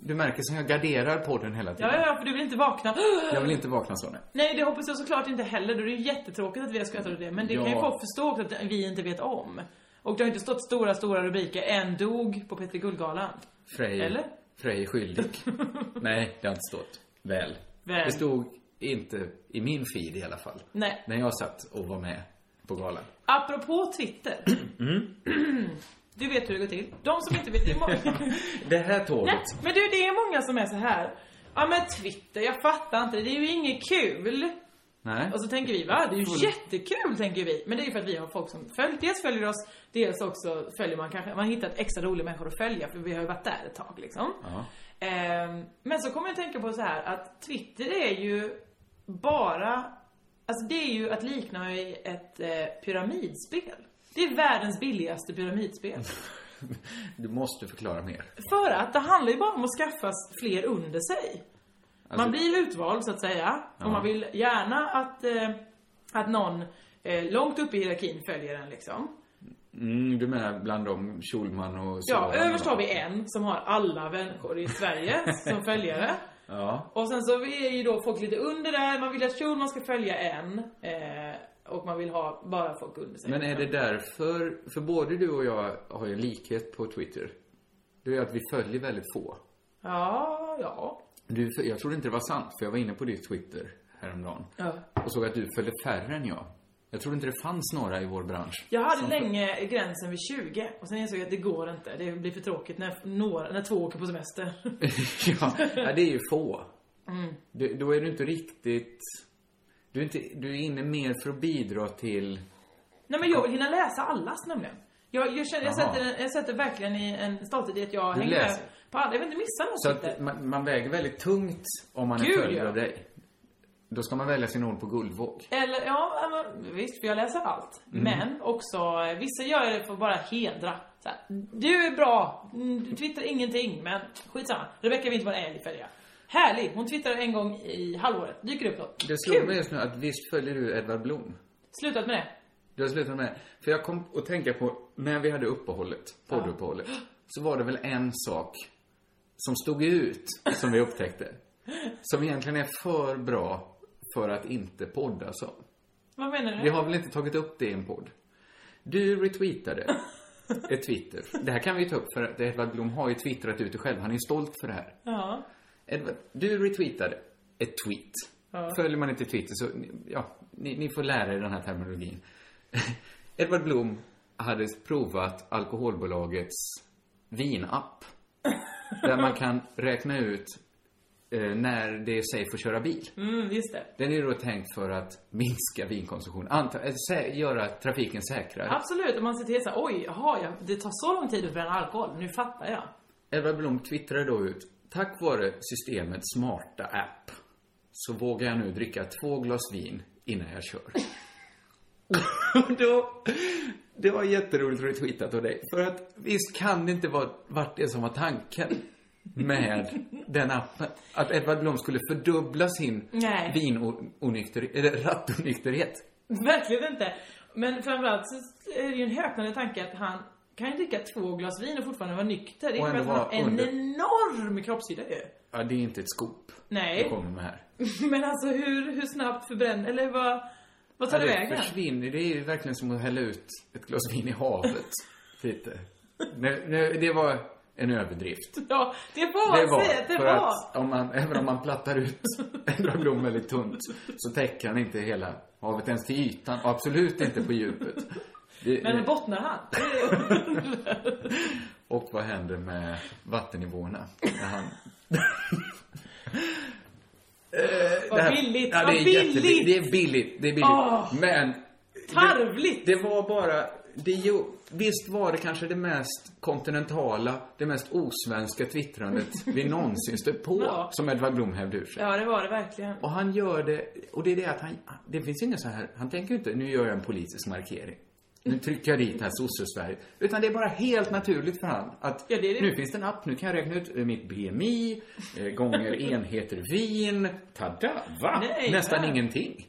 Du märker som jag garderar podden hela tiden. Ja, ja, ja, för du vill inte vakna. Jag vill inte vakna så nu. Nej, det hoppas jag såklart inte heller. Då är det ju jättetråkigt att vi har skrattat åt det. Men det Ja. kan ju folk förstå också att vi inte vet om. Och det har inte stått stora, stora rubriker. En dog på Peter Guldgalan. Frej, Eller? Frej skyldig. Nej, det har inte stått. Väl. Väl. Det stod inte i min feed i alla fall. Nej. När jag satt och var med på galan. Apropå Twitter. du vet hur det går till. De som inte vet, det är många... Det här tåget. Nej, men du, det är många som är så här. Ja men Twitter, jag fattar inte. Det är ju inget kul. Nej. Och så tänker vi, va? Det är ju jättekul, tänker vi. Men det är ju för att vi har folk som följer, dels följer oss, dels också följer man kanske, man hittar ett extra roliga människor att följa, för vi har ju varit där ett tag liksom. Ja. Ehm, men så kommer jag att tänka på så här att Twitter är ju bara, alltså det är ju att likna med ett eh, pyramidspel. Det är världens billigaste pyramidspel. Du måste förklara mer. För att det handlar ju bara om att skaffa fler under sig. Alltså- man blir utvald så att säga. Ja. Och man vill gärna att, eh, att någon eh, långt upp i hierarkin följer en liksom. Mm, du menar bland dem Schulman och så? Ja, överst har vi en som har alla människor i Sverige som följare. Ja. Och sen så är ju då folk lite under där. Man vill att Schulman ska följa en. Eh, och man vill ha bara folk under sig. Men är det därför, för både du och jag har ju en likhet på Twitter. Det är ju att vi följer väldigt få. Ja, ja. Du, jag trodde inte det var sant, för jag var inne på ditt Twitter häromdagen. Ja. Och såg att du följde färre än jag. Jag trodde inte det fanns några i vår bransch. Jag hade som- länge gränsen vid 20 och sen insåg jag att det går inte. Det blir för tråkigt när, några, när två åker på semester. ja, nej, det är ju få. Mm. Du, då är du inte riktigt... Du är, inte, du är inne mer för att bidra till... Nej men jag vill hinna läsa allas nämligen. Jag, jag, känner, jag, Jaha. sätter, jag sätter verkligen i en stolthet i att jag Du hänger läser. med på alla. Jag vill inte missa något. Så att man, man väger väldigt tungt om man är Gud, följd ja. av dig. Då ska man välja sin ord på guldvåg. Eller ja, ja, men, visst för jag läser allt. Mm. Men också, eh, vissa gör det för att bara hedra. Så här, du är bra, Mm, du twittrar ingenting men skitsamma. Rebecka Wintman är älg följer jag. Härlig, hon twittrar en gång i halvåret. Dyker upp något. Det slog mig just nu att visst följer du Edvard Blom? Slutat med det. Du har slutat med det. För jag kom att tänka på, när vi hade uppehållet, podduppehållet, så var det väl en sak som stod ut, som vi upptäckte. Som egentligen är för bra för att inte poddas om. Vad menar du? Vi har väl inte tagit upp det i en podd? Du retweetade ett Twitter. Det här kan vi ju ta upp för att Edvard Blom har ju twittrat ut det själv. Han är ju stolt för det här. Ja. Edvard, du retweetade ett tweet. Ja. Följer man inte Twitter så, ja, ni, ni får lära er den här terminologin. Edvard Blom hade provat alkoholbolagets vinapp. Där man kan räkna ut eh, när det är safe att köra bil. Mm, just det. Den är ju då tänkt för att minska vinkonsumtion. Anta, eh, sä- göra trafiken säkrare. Absolut, om man ser till så här, oj, jaha, ja, det tar så lång tid att bränna alkohol, nu fattar jag. Ebba Blom twittrade då ut. Tack vare systemets smarta app så vågar jag nu dricka två glas vin innan jag kör. Och då, det var jätteroligt att du tweetat av dig. För att visst kan det inte vara vart det som var tanken med den appen. Att Edvard Blom skulle fördubbla sin Nej. vinonykterhet, eller rattonykterhet. Verkligen inte. Men framförallt så är det ju en häpnande tanke att han kan ju dricka två glas vin och fortfarande vara nykter. Det Och innebär ändå att han har vara en under. enorm kroppshydda ju. Ja, det är inte ett skop Nej. du kommer med här. Men alltså hur, hur snabbt förbränner, eller vad, vad tar Ja, det det vägen? försvinner. Det är ju verkligen som att hälla ut ett glas vin i havet. Lite. Nu, nu, det var en överdrift. Ja, det var, det var säg att det för var. att om man, även om man plattar ut en blom väldigt tunt så täcker han inte hela havet ens till ytan. Och absolut inte på djupet. Det, Men bottnar han? och vad händer med vattennivåerna när han... Eh, Vad det här- billigt, Ja, vad det är billigt. jättebilligt. Det är billigt, det är billigt. Åh, Men... Tarvligt! Det, det var bara... Det, ju- visst var det kanske det mest kontinentala, det mest osvenska twittrandet vi någonsin stött på, Ja. som Edvard Blom hävde ur sig. Ja, det var det verkligen. Och han gör det, och det är det att han, det finns ingen så här, han tänker inte, nu gör jag en politisk markering. Nu trycker jag dit här sosse-Sverige. Utan det är bara helt naturligt för han att det är det. nu finns det en app, nu kan jag räkna ut eh, mitt BMI, eh, gånger enheter vin, tada, va? Nej, Nästan va? ingenting.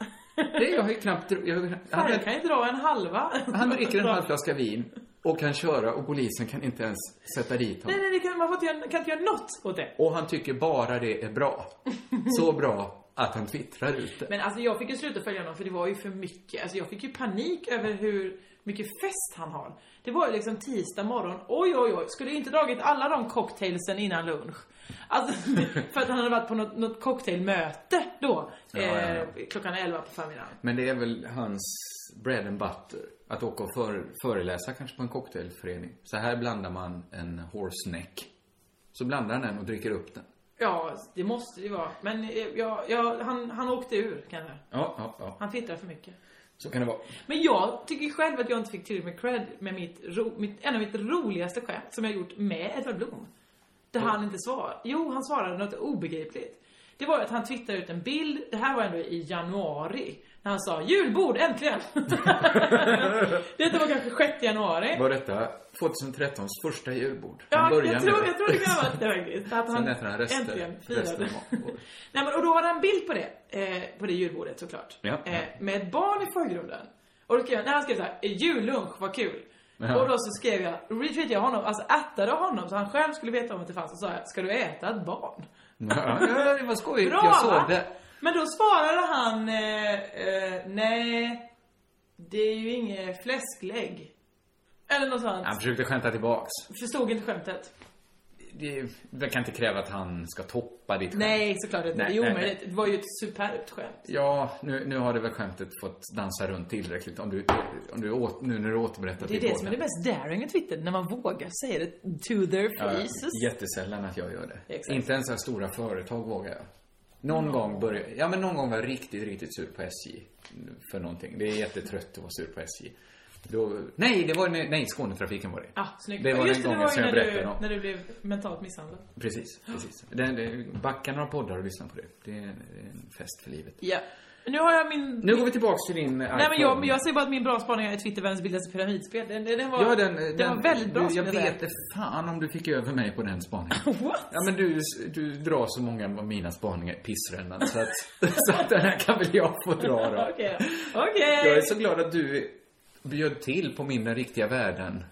Det jag har ju knappt, jag, har- Fan, han, jag kan ju dra en halva. han dricker en halv flaska vin och kan köra och polisen kan inte ens sätta dit honom. Nej, nej, det kan, man får inte göra, kan inte göra något åt det. Och han tycker bara det är bra. Så bra att han twittrar ut det. Men alltså jag fick ju sluta följa honom för det var ju för mycket. Alltså jag fick ju panik över hur mycket fest han har. Det var ju liksom tisdag morgon. Oj, oj, oj. Skulle inte dragit alla de cocktailsen innan lunch. Alltså, för att han hade varit på något, något cocktailmöte då. Ja, ja, ja. Eh, klockan 11 på förmiddagen. Men det är väl hans bread and butter. Att åka och för, föreläsa kanske på en cocktailförening. Så här blandar man en horse neck. Så blandar han den och dricker upp den. Ja, det måste det vara. Men eh, ja, ja, han, han åkte ur kanske. Ja, ja, ja. Han twittrar för mycket. Så kan det vara. Men jag tycker själv att jag inte fick tillräckligt med cred med mitt, ro, mitt en av mitt roligaste skämt som jag gjort med Edvard Blom. Där han inte svarade. Jo, han svarade något obegripligt. Det var ju att han twittrade ut en bild, det här var ändå i januari. När han sa julbord, äntligen! Detta var kanske 6 januari. Var detta 2013s första julbord? Ja, Han börjar jag med tror, jag tror det kan ha varit det faktiskt. Att han Sen äter han rester- äntligen firade. resten av året. Nej, men, och då har han en bild på det, eh, på det julbordet såklart. Ja, ja. Eh, med ett barn i förgrunden. Och då skrev jag, när han skrev såhär, jullunch, vad kul. Ja. Och då så skrev jag, retweetade jag honom, alltså attade honom så han själv skulle veta om att det fanns. Och sa jag, ska du äta ett barn? Ja, ja, det var skojigt. Bra, jag va? såg det. Men då svarade han, eh, eh, nej, det är ju inget fläsklägg. Eller något sånt. Han försökte skämta tillbaks. Förstod inte skämtet. Det, det kan inte kräva att han ska toppa ditt skämt. Nej, såklart inte. Nej, det är nej, omöjligt. Det var ju ett superbt skämt. Ja, nu, nu har det väl skämtet fått dansa runt tillräckligt. Om du, om du åt, nu när du återberättat Det är i det som är podden. det mest daring med Twitter, när man vågar säga det to their faces. Ja, jättesällan att jag gör det. Exakt. Inte ens så här stora företag vågar jag. Någon gång började, ja men någon gång var jag riktigt, riktigt sur på SJ. För någonting. Det är jättetrött att vara sur på SJ. Då, nej, det var, nej, Skånetrafiken var det. Ah, snyggt. Det var Just den det, det gången var ju som jag när berättade du, om. när du blev mentalt misshandlad. Precis, precis. Den, den, backa några poddar och lyssna på det. Det är en, det är en fest för livet. Ja. Nu har jag min... Nu går vi tillbaks till din iPhone. Nej men jag, men jag säger bara att min bra spaning är Twitter, världens billigaste pyramidspel. Den, den, den var, Ja, den, den den- var väldigt bra du, Jag skulle säga. vet det fan om du fick över mig på den spaningen. What? Ja, men du, du drar så många av mina spaningar i pissrännan så att, så att den här kan väl jag få dra då. Okej då. Okej. Jag är så glad att du bjöd till på min Den riktiga världen.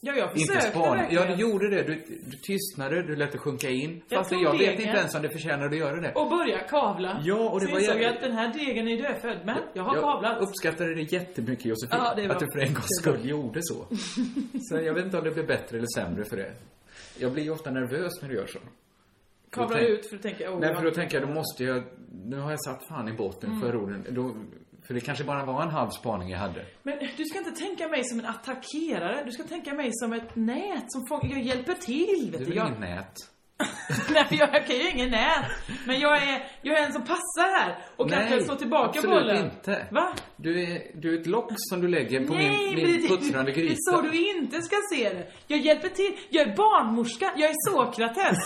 Ja, jag försökte Inte spaning. Ja, verkligen. du gjorde det. Du, du tystnade, du lät det sjunka in. Jag Fast jag, tog vet degen. inte ens om det förtjänar att göra det. Och börja kavla. Ja, och det Så var insåg jag jävligt- att den här degen är dödfödd, men jag har kavlat. uppskattade det jättemycket Josefin. Ja, det var- att du för en gångs det var- skull gjorde så. så jag vet inte om det blev bättre eller sämre för det. Jag blir ju ofta nervös när du gör så. Kavlar tänk- ut för att tänka, oh, Nej, för då ja. tänker jag, då måste jag... Nu har jag satt fan i båten Mm. för orden. Då, för det kanske bara var en halv spaning jag hade. Men du ska inte tänka mig som en attackerare. Du ska tänka mig som ett nät som fångar... Jag hjälper till, Du vet är du. väl Jag... inget nät? Nej, jag kan ju ingen nät. Men jag är, jag är en som passar här och Nej, kanske slår tillbaka absolut bollen. inte. Va? Du är, du är ett lock som du lägger på Nej, min, min det- puttrande Det är gryta. så du inte ska se det. Jag hjälper till. Jag är barnmorska. Jag är Sokrates.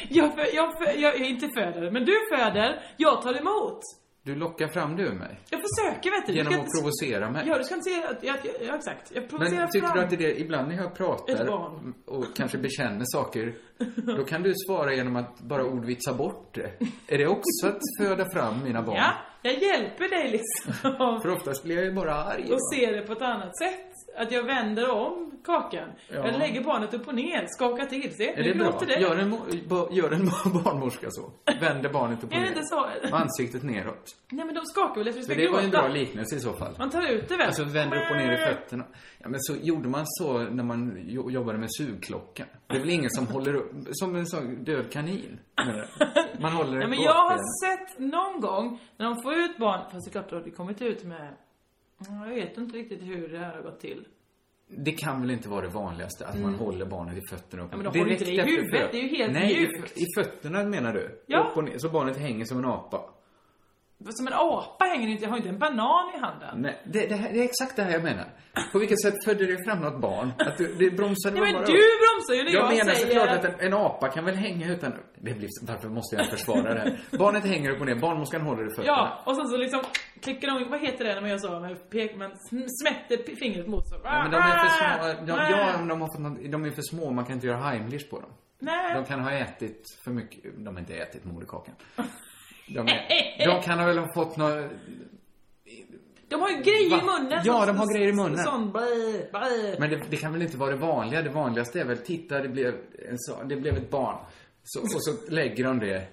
jag, för, jag, för, jag är inte föder, men du föder. Jag tar emot. Du lockar fram det ur mig. Jag försöker, vet du. Genom du att provocera mig. Ja, du ska inte se att... Jag, jag, ja, exakt. Alltså, Jag provocerar Men tycker fram. du att det är det, ibland när jag Ett pratar barn. och kanske bekänner saker, då kan du svara genom att bara ordvitsa bort det. Är det också att föda fram mina barn? Ja, jag hjälper dig liksom. För oftast blir jag ju bara arg. va? Och ser det på ett annat sätt. Att jag vänder om kakan. Ja. Jag lägger barnet upp och ner, skakar till. Se, Är det nu bra? låter det. Gör en, mo- ba- gör en barnmorska så. Vänder barnet upp och Är det ner. inte så? Och ansiktet neråt. Nej men de skakar väl efter att Men vi det ska var ju en gråta. bra liknelse i så fall. Man Äh. tar ut det väl? Alltså vänder upp och ner i fötterna. Ja, men så gjorde man så när man jo- jobbade med sugklockan. Det är väl ingen som håller upp, som en sån död kanin. menar jag. Man håller Nej den men på jag har åsbenen. sett någon gång när de får ut barn, fast det är klart då har det kommit ut med, jag vet inte riktigt hur det här har gått till. Det kan väl inte vara det vanligaste att man Mm. håller barnet i fötterna upp Ja, men de håller inte det i efter huvudet, föd- det är ju helt Nej, i- mjukt. i fötterna menar du? Ja. Upp och ner, så barnet hänger som en apa. Som en apa hänger det inte, jag har inte en banan i handen. Nej, det, det, här, det är exakt det här jag menar. På vilket sätt födde det fram något barn? Att du, det bromsade Nej men bara du upp. bromsar ju när jag, Jag menar säger såklart att en, en apa kan väl hänga utan... Det blir, varför måste jag försvara det här? Barnet hänger upp och ner, barnmorskan håller i fötterna. Ja, och sen så liksom klickar de, vad heter det när man gör så? Med pek, man sm- smätter p- fingret mot så. Ja, men de är för Ah, små. De, ja, om de, har fått något, de är för små, man kan inte göra Heimlich på dem. Nej. De kan ha ätit för mycket, de har inte ätit moderkakan. De, är, de kan ha väl ha fått något... De har ju grejer i Va? munnen. Ja, som- de har grejer i munnen. Sån, bäh, bäh. Men det, det kan väl inte vara det vanliga? Det vanligaste är väl, titta det blev, en, så, det blev ett barn. Så, och så lägger de det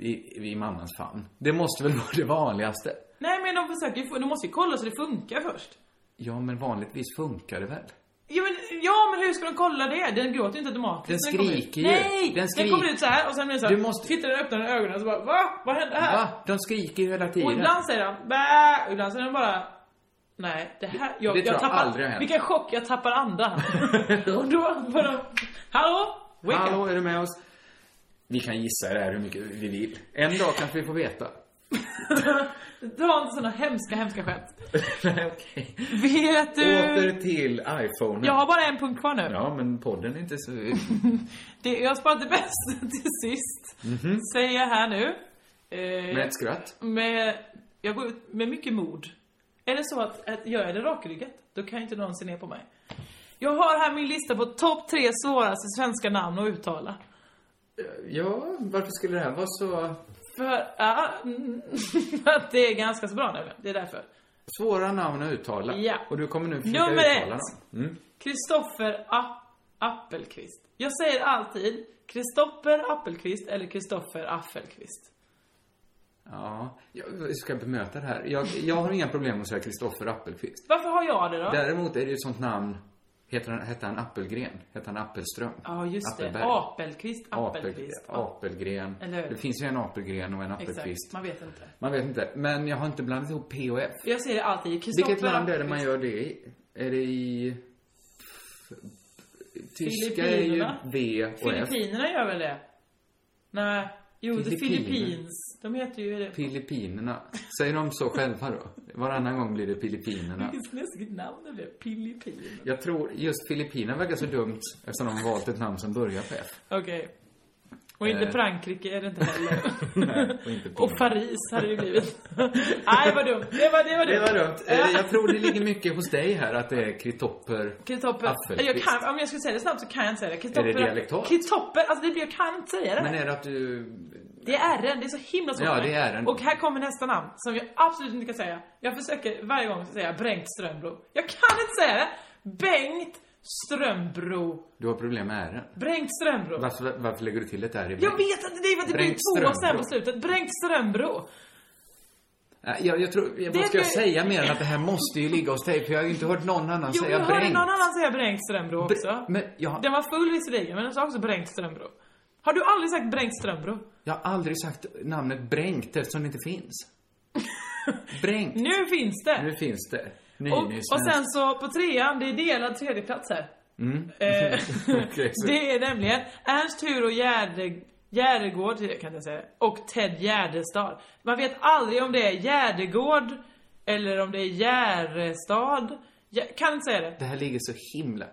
i, i mammans famn. Det måste väl vara det vanligaste? Nej men de försöker ju, få- de måste ju kolla så det funkar först. Ja, men vanligtvis funkar det väl? Ja men, ja, men hur ska de kolla det? Den gråter ju inte Den automatiskt när kommer ut. skriker ju. Nej! Den, skriker. kommer ut så här och sen blir det så här, Du måste- tittar den öppnar den ögonen och så bara va? Vad hände här? Va? De skriker ju hela tiden. Äh. Och ibland säger han bä, och ibland säger han bara Nej, det här, jag, det tror jag jag tappar, aldrig har hänt. vilken chock, jag tappar andan. och då bara, hallå? Wake Hallå, up. är du med oss? Vi kan gissa det här hur mycket vi vill. En dag kanske vi får veta. Dra inte såna hemska, hemska skämt. Nej, Okej. Vet du? Åter till iPhone. Jag har bara en punkt kvar nu. Ja, men podden är inte så... Det, jag sparade det bästa till sist. Mhm. Säger jag här nu. Eh, Med ett skratt. Med, jag går ut med mycket mod. Är det så att, att gör jag det rakryggat, då kan ju inte någon se ner på mig. Jag har här min lista på topp tre svåraste svenska namn att uttala. Ja, varför skulle det här vara så... För, ja, mm, för att det är ganska så bra nämligen. Det är därför. Svåra namn att uttala. Ja. Och du kommer nu försöka Nummer uttala ett. dem. Mm. Kristoffer A- Appelqvist. Jag säger alltid Kristoffer Appelqvist eller Kristoffer Affelqvist. Ja, jag ska bemöta det här. Jag, jag har inga problem med att säga Kristoffer Appelqvist. Varför har jag det då? Däremot är det ju ett sånt namn... Heter han, hette han Appelgren? Hette han Appelström? Ja, just Appelberg. det. Apelqvist, Apel, Appelqvist. apelgren. Eller hur? Det finns ju en apelgren och en Exakt, appelkvist. man vet inte. Man vet inte. Men jag har inte blandat ihop P och F. Jag säger det alltid. Kristoffer Vilket land är det man Appelqvist. gör det i? Är det i... Tyska är ju Filippinerna? V och F. Filippinerna gör väl det? Nej. Jo, det är Filippiner. Filippins. De heter ju det. Filippinerna. Säger de så själva då? Varannan gång blir det Filippinerna. Vilket läskigt namn det blev. Filippin. Jag tror just Filippinerna verkar så dumt eftersom de har valt ett namn som börjar på F. Okej. Och inte Eh. Frankrike är det inte heller. Nej, och inte och Paris hade det blivit. Nej, vad dumt. Det var, det var dumt. Det var dumt. Eh, Jag tror det ligger mycket hos dig här att det är Kritopper Kristoffer, Appelqvist. jag kan, om jag skulle säga det snabbt så kan jag inte säga det. Kristoffer, Är det dialektalt? Kristoffer, alltså det blir, jag kan inte säga det. Men är det att du... Det är ärren, det är så himla svårt Ja, för mig. det är ärren. Och här kommer nästa namn som jag absolut inte kan säga. Jag försöker varje gång säga Bengt Strömbro. Jag kan inte säga det! Bengt Strömbro. Du har problem med ären? Bengt Strömbro. Varför, varför lägger du till ett R i Jag vet inte, det är för att det blir Bengt två sen på Strömbro. slutet. Bengt Strömbro. Nej, Jag, jag tror, jag, Det vad ska jag blir- säga mer än att det här måste ju ligga hos dig? För jag har ju inte hört någon annan Jo, säga jag hörde Bengt. någon annan säga Bengt Strömbro Br- också. Men jag, har- Den var full visserligen, men den sa också Bengt Strömbro. Har du aldrig sagt Bengt Strömbro? jag har aldrig sagt namnet Brängt eftersom det inte finns. Brängt. Nu finns det! Nu finns det. Och, Nynysvenskt. och sen så på trean, det är delad tredjeplats här. Mm. Eh, Okej, så- det är nämligen Ernst Hugo Gärde, Gärdegård, kan jag inte säga, och Ted Gärdestad. Man vet aldrig om det är Gärdegård eller om det är Gärestad. Jag kan inte säga det. Det här ligger så himla...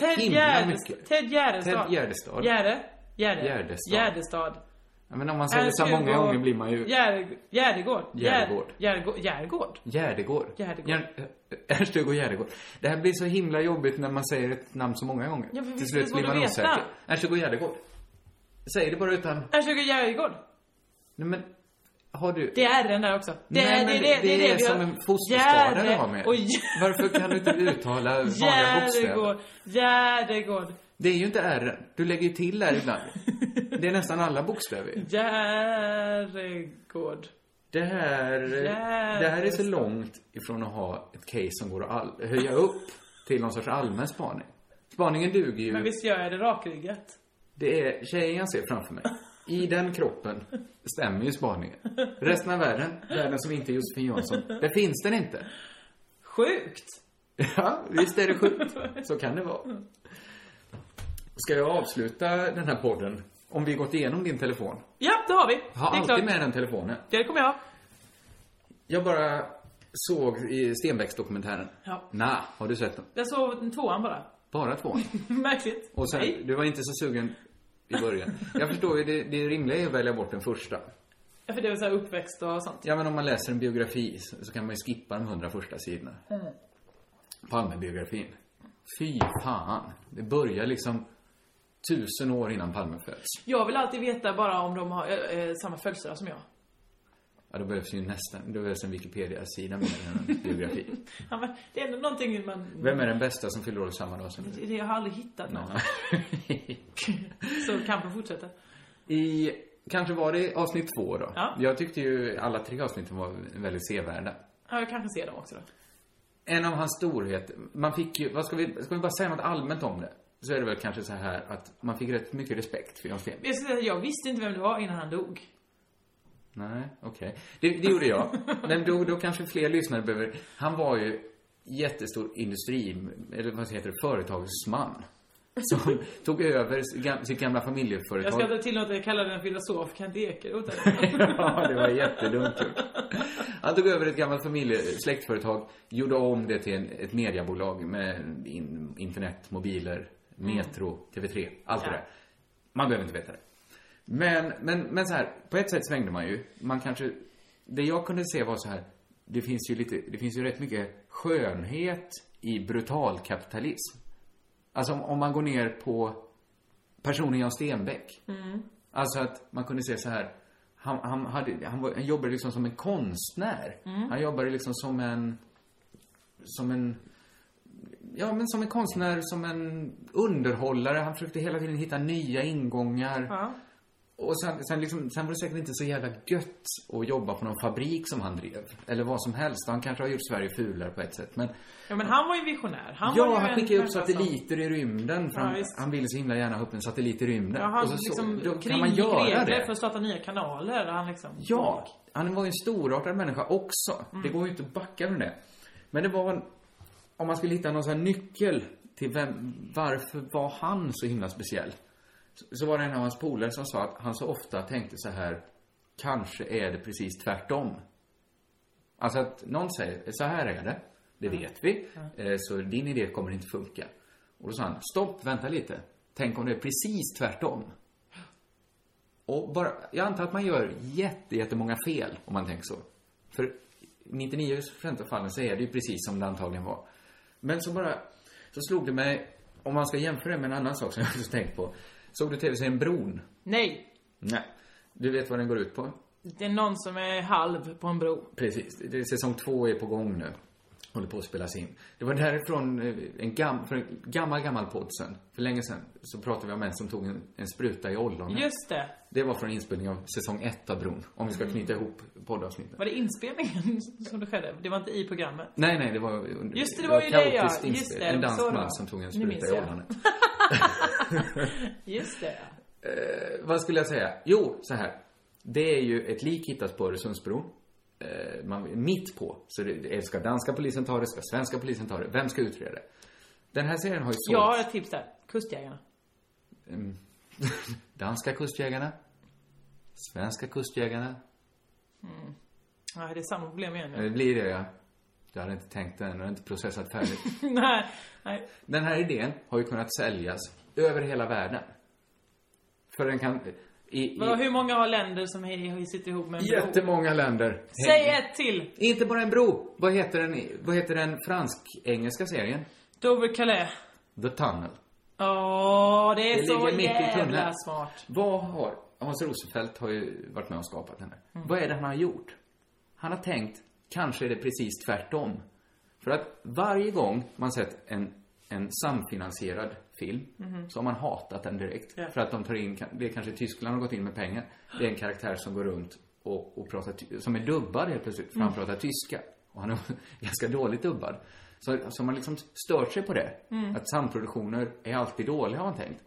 Ted, himla Gärdestad. mycket. Ted Gärdestad. Ted Gärdestad. Gärde. Gärde. Gärdestad. Gärdestad. Ja, men om man säger det så här Ernst många Hugo gånger blir man ju... Gärde- Gärdegård. Gärdegård. Gärdegård. Gärdegård. Gärdegård. Gärdegård. Gär- Ernst Hugo Gärdegård. Det här blir så himla jobbigt när man säger ett namn så många gånger. Ja, för Till visst är slut det blir svårt man att veta. osäker. Ernst Hugo Gärdegård. Säg det bara utan... Ernst Hugo Gärdegård. Nej men, har du... Det är den där också. Det Nej, är men det, det, det, det är vi har- som en fosterskada Gärde du har med. Och Varför kan du inte uttala vanliga bokstäver? Gärdegård. Gärdegård. Det är ju inte R. Du lägger ju till R ibland. Det är nästan alla bokstäver. Gärdegård. Det här, det här är så långt ifrån att ha ett case som går att all, höja upp till någon sorts allmän spaning. Spaningen duger ju. Men visst gör jag det rakryggat? Det är tjejen jag ser framför mig. I den kroppen stämmer ju spaningen. Resten av världen, världen som inte är Josefin Jansson, där finns den inte. Sjukt! Ja, visst är det sjukt. Så kan det vara. Ska jag avsluta den här podden? Om vi gått igenom din telefon? Ja, det har vi. Jag har det är alltid klart. med den telefonen. Det kommer jag ha. Jag bara såg i Stenbecks-dokumentären. Ja. Nah, har du sett den? Jag såg tvåan bara. Bara två. Märkligt. Och sen, Nej, du var inte så sugen i början. Jag förstår ju, det, det rimliga är att välja bort den första. för det var så här uppväxt och sånt. Ja, men om man läser en biografi så, så kan man ju skippa de hundra första sidorna. Palmebiografin. Fy fan. Det börjar liksom tusen år innan Palme föds. Jag vill alltid veta bara om de har eh, eh, samma födelsedag som jag. Ja, då behövs ju nästan, då behövs en Wikipedia-sida mer än en biografi. Ja, men det är ändå någonting man... Vem är den bästa som fyller år samma dag som du? Det jag har aldrig hittat någon. Nej. Så kampen fortsätter. I, kanske var det avsnitt två då. Ja. Jag tyckte ju alla tre avsnitten var väldigt sevärda. Ja, jag kanske ser dem också då. En av hans storheter, man fick ju, vad ska vi, ska vi bara säga något allmänt om det? Så är det väl kanske så här att man fick rätt mycket respekt för Jan Sten. Jag, ska säga, jag visste inte vem det var innan han dog. Nej, okej. Det, det gjorde jag. Men då, då kanske fler lyssnare behöver... Han var ju jättestor industri, eller vad heter det, företagsman. Som tog över s- gam- sitt gamla Jag ska familjeföretag. inte tillåta dig att kalla den filosof Kent Ekeroth. ja, det var jättedumt gjort. Han tog över ett gammalt familje, släktföretag, gjorde om det till en, ett mediebolag med in, internet, mobiler, Metro, TV3, allt det Ja. där. Man behöver inte veta det. Men, men, men så här, på ett sätt svängde man ju. Man kanske, det jag kunde se var så här, det finns ju lite, det finns ju rätt mycket skönhet i brutal kapitalism. Alltså om, om man går ner på personen Jan Stenbeck. Alltså att man kunde se så här. Han, han, hade, han, var, han jobbade liksom som en konstnär. Han jobbade liksom som en... Som en... Ja, men som en konstnär, som en underhållare. Han försökte hela tiden hitta nya ingångar. Ja. Och sen, sen, liksom, sen var det säkert inte så jävla gött att jobba på någon fabrik som han drev. Eller vad som helst. Han kanske har gjort Sverige fulare på ett sätt. Men, Ja, men han var ju en visionär. Han var ja, ju han en skickade upp människa som- satelliter i rymden. För Ja, han, visst. han ville så himla gärna ha upp en satellit i rymden. Ja, han och så, liksom så, då kan man kringgick göra regler det. för att starta nya kanaler. Han liksom... Ja, han var ju en storartad människa också. Det går ju inte att backa från det. Men det var, en- om man skulle hitta någon sån här nyckel till vem, varför var han så himla speciell? Så, så var det en av hans polare som sa att han så ofta tänkte så här, kanske är det precis tvärtom. Alltså att någon säger, så här är det, det vet vi, Eh, så din idé kommer inte funka. Och då sa han, stopp, vänta lite. Tänk om det är precis tvärtom. Och bara, jag antar att man gör jätte, jättemånga fel om man tänker så. För 99% av fallen så är det ju precis som det antagligen var. Men så bara, så slog det mig, om man ska jämföra det med en annan sak som jag också tänkt på. Såg du tv-serien Bron? Nej. Nej. Du vet vad den går ut på? Det är någon som är halv på en bro. Precis. Det är, säsong två är på gång nu. Håller på att spelas in. Det var därifrån eh, en, gam, för en gammal, gammal podd sen. För länge sen så pratade vi om en som tog en, en spruta i ollonet. Just det. Det var från inspelningen av säsong ett av Bron. Om vi ska Mm. knyta ihop poddavsnitten. Var det inspelningen som det skedde? Det var inte i programmet. Nej, nej, det var under- Just det, det var ju det, ja. kaotiskt Just inspel- det, En det var så dansk det var. man som tog en Nu spruta minns i jag. ollonet. Just det, ja. Eh, vad skulle jag säga? Jo, så här. Det är ju ett lik hittas på Öresundsbron. Eh, man, mitt på. Så det, det ska danska polisen ta det? Ska svenska polisen ta det? Vem ska utreda det? Den här serien har ju sålts. Jag har ett tips där. Kustjägarna. Mm. Danska kustjägarna. Svenska kustjägarna. Mm. Nej, det är samma problem igen. Eh, Det blir det, ja. Du hade inte tänkt den, du hade inte processat färdigt. nej, nej. Den här idén har ju kunnat säljas över hela världen. För den kan... I, i Vadå, hur många har länder som he- he- sitter ihop med en bro? jättemånga länder. Säg ett till! Inte bara en bro. Vad heter den, i- vad heter den fransk-engelska serien? Dover Calais. The Tunnel. Åh, det är Det så ligger mitt i jävla tunneln. smart. Vad har... Hans Rosenfeldt har ju varit med och skapat den här. Mm. Vad är det han har gjort? Han har tänkt, kanske är det precis tvärtom. För att varje gång man sett en, en samfinansierad film Mhm. så har man hatat den direkt. Ja. För att de tar in, det är kanske Tyskland har gått in med pengar. Det är en karaktär som går runt och, och pratar, ty- som är dubbad helt plötsligt. För han Mm. pratar tyska. Och han är ganska dåligt dubbad. Så, så man liksom stört sig på det. Mm. Att samproduktioner är alltid dåliga har han tänkt.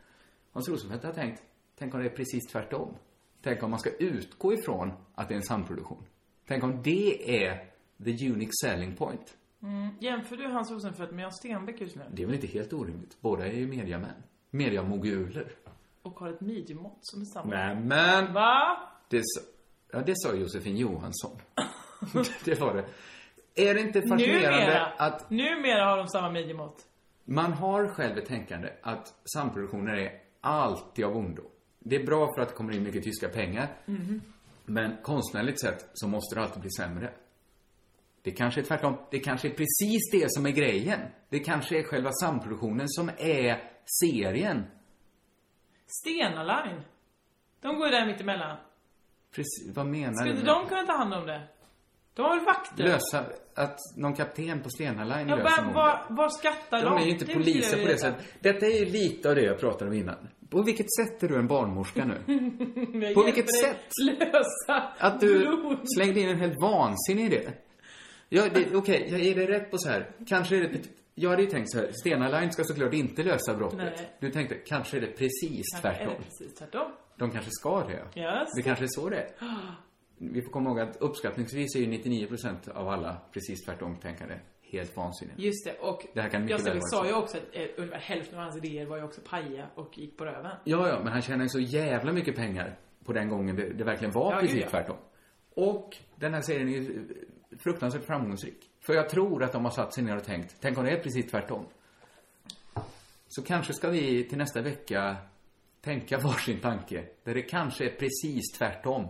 Hans Rosenfeldt har tänkt, tänk om det är precis tvärtom. Tänk om man ska utgå ifrån att det är en samproduktion. Tänk om det är the unique selling point. Mm. Jämför du Hans Rosenfeldt med Jan Stenbeck just nu? Det är väl inte helt orimligt? Båda är ju mediamän. Mediamoguler. Och har ett midjemått som är samma. Nämen! Va? Det, sa- ja, det sa Josefin Johansson. det var det. Är det inte fascinerande Numera, att numera har de samma midjemått. Man har själv ett tänkande att samproduktioner är alltid av ondo. Det är bra för att det kommer in mycket tyska pengar, Mhm. men konstnärligt sett så måste det alltid bli sämre. Det kanske är tvärtom. Det kanske är precis det som är grejen. Det kanske är själva samproduktionen som är serien. Stena Line. De går ju där mittemellan. Precis, vad menar Skulle du? inte de kunna ta hand om det? De har ju vakter. Lösa, att någon kapten på Stena Line Ja, löser var, mordet. var, var skattar de? De är ju inte Det poliser vill på jag det veta. sättet. Detta är ju lite av det jag pratade om innan. På vilket sätt är du en barnmorska nu? Jag På hjälper vilket dig sätt? Alltså, Lösa Att du blod. slängde in en helt vansinnig idé. Ja, det- Okej, jag ger dig rätt på så här. Kanske är det... Jag hade ju tänkt så här. Stena Line ska såklart inte lösa brottet. Nej. Du tänkte, kanske är det precis Kanske är det tvärtom. precis tvärtom. De kanske ska det, ja. Just Det det. kanske är så det är. Vi får komma ihåg att uppskattningsvis är ju 99% av alla precis tvärtom tänkande helt vansinniga. Just det, och Det här kan mycket jag väl vara sa så. ju också att eh, ungefär hälften av hans idéer var ju också paja och gick på röven. Ja, ja, men han tjänar ju så jävla mycket pengar på den gången det, det verkligen var Ja, precis gud, ja. tvärtom. Och den här serien är ju eh, fruktansvärt framgångsrik. För jag tror att de har satt sig ner och tänkt, tänk om det är precis tvärtom. Så kanske ska vi till nästa vecka tänka varsin tanke, där det kanske är precis tvärtom.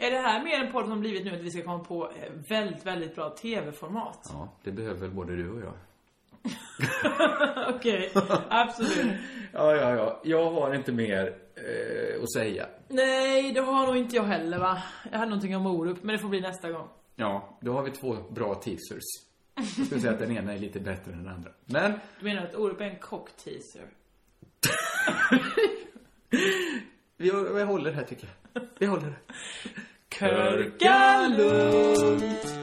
Är det här mer en podd som blivit nu att vi ska komma på eh, väldigt, väldigt bra TV-format? Ja, det behöver väl både du och jag. Okej, absolut. Ja, ja, ja. Jag har inte mer eh, att säga. Nej, det har nog inte jag heller va? Jag hade någonting om Orup, men det får bli nästa gång. Ja, då har vi två bra teasers. Jag skulle säga att den ena är lite bättre än den andra. Men Du menar att Orup är en cockteaser? vi, vi håller det här tycker jag. Vi håller det. Körka lugnt!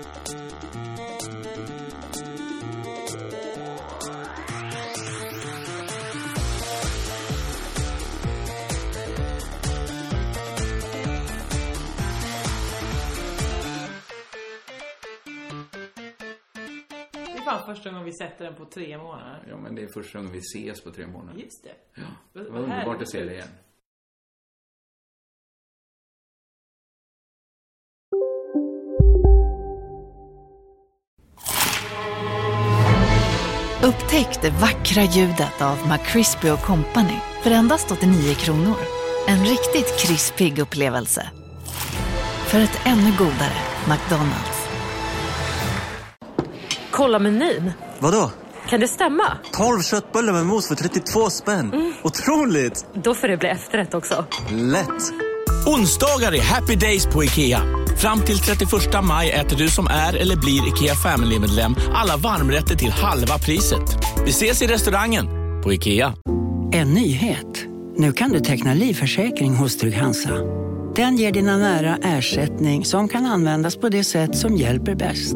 Det är fan första gången vi sätter den på tre månader. Ja, men det är första gången vi ses på tre månader. Just det. Ja, Vad- det var vad underbart härligt. att se dig igen. Upptäck det vackra ljudet av McCrispy Company för endast 89 kronor. En riktigt krispig upplevelse. För ett ännu godare McDonalds. Kolla menyn. Vadå? Kan det stämma? 12 köttbullar med mos för 32 spänn. Mm. Otroligt! Då får det bli efterrätt också. Lätt! Onsdagar är happy days på IKEA. Fram till 31 maj äter du som är eller blir IKEA Family-medlem alla varmrätter till halva priset. Vi ses i restaurangen på IKEA. En nyhet. Nu kan du teckna livförsäkring hos Trygg-Hansa. Den ger dina nära ersättning som kan användas på det sätt som hjälper bäst.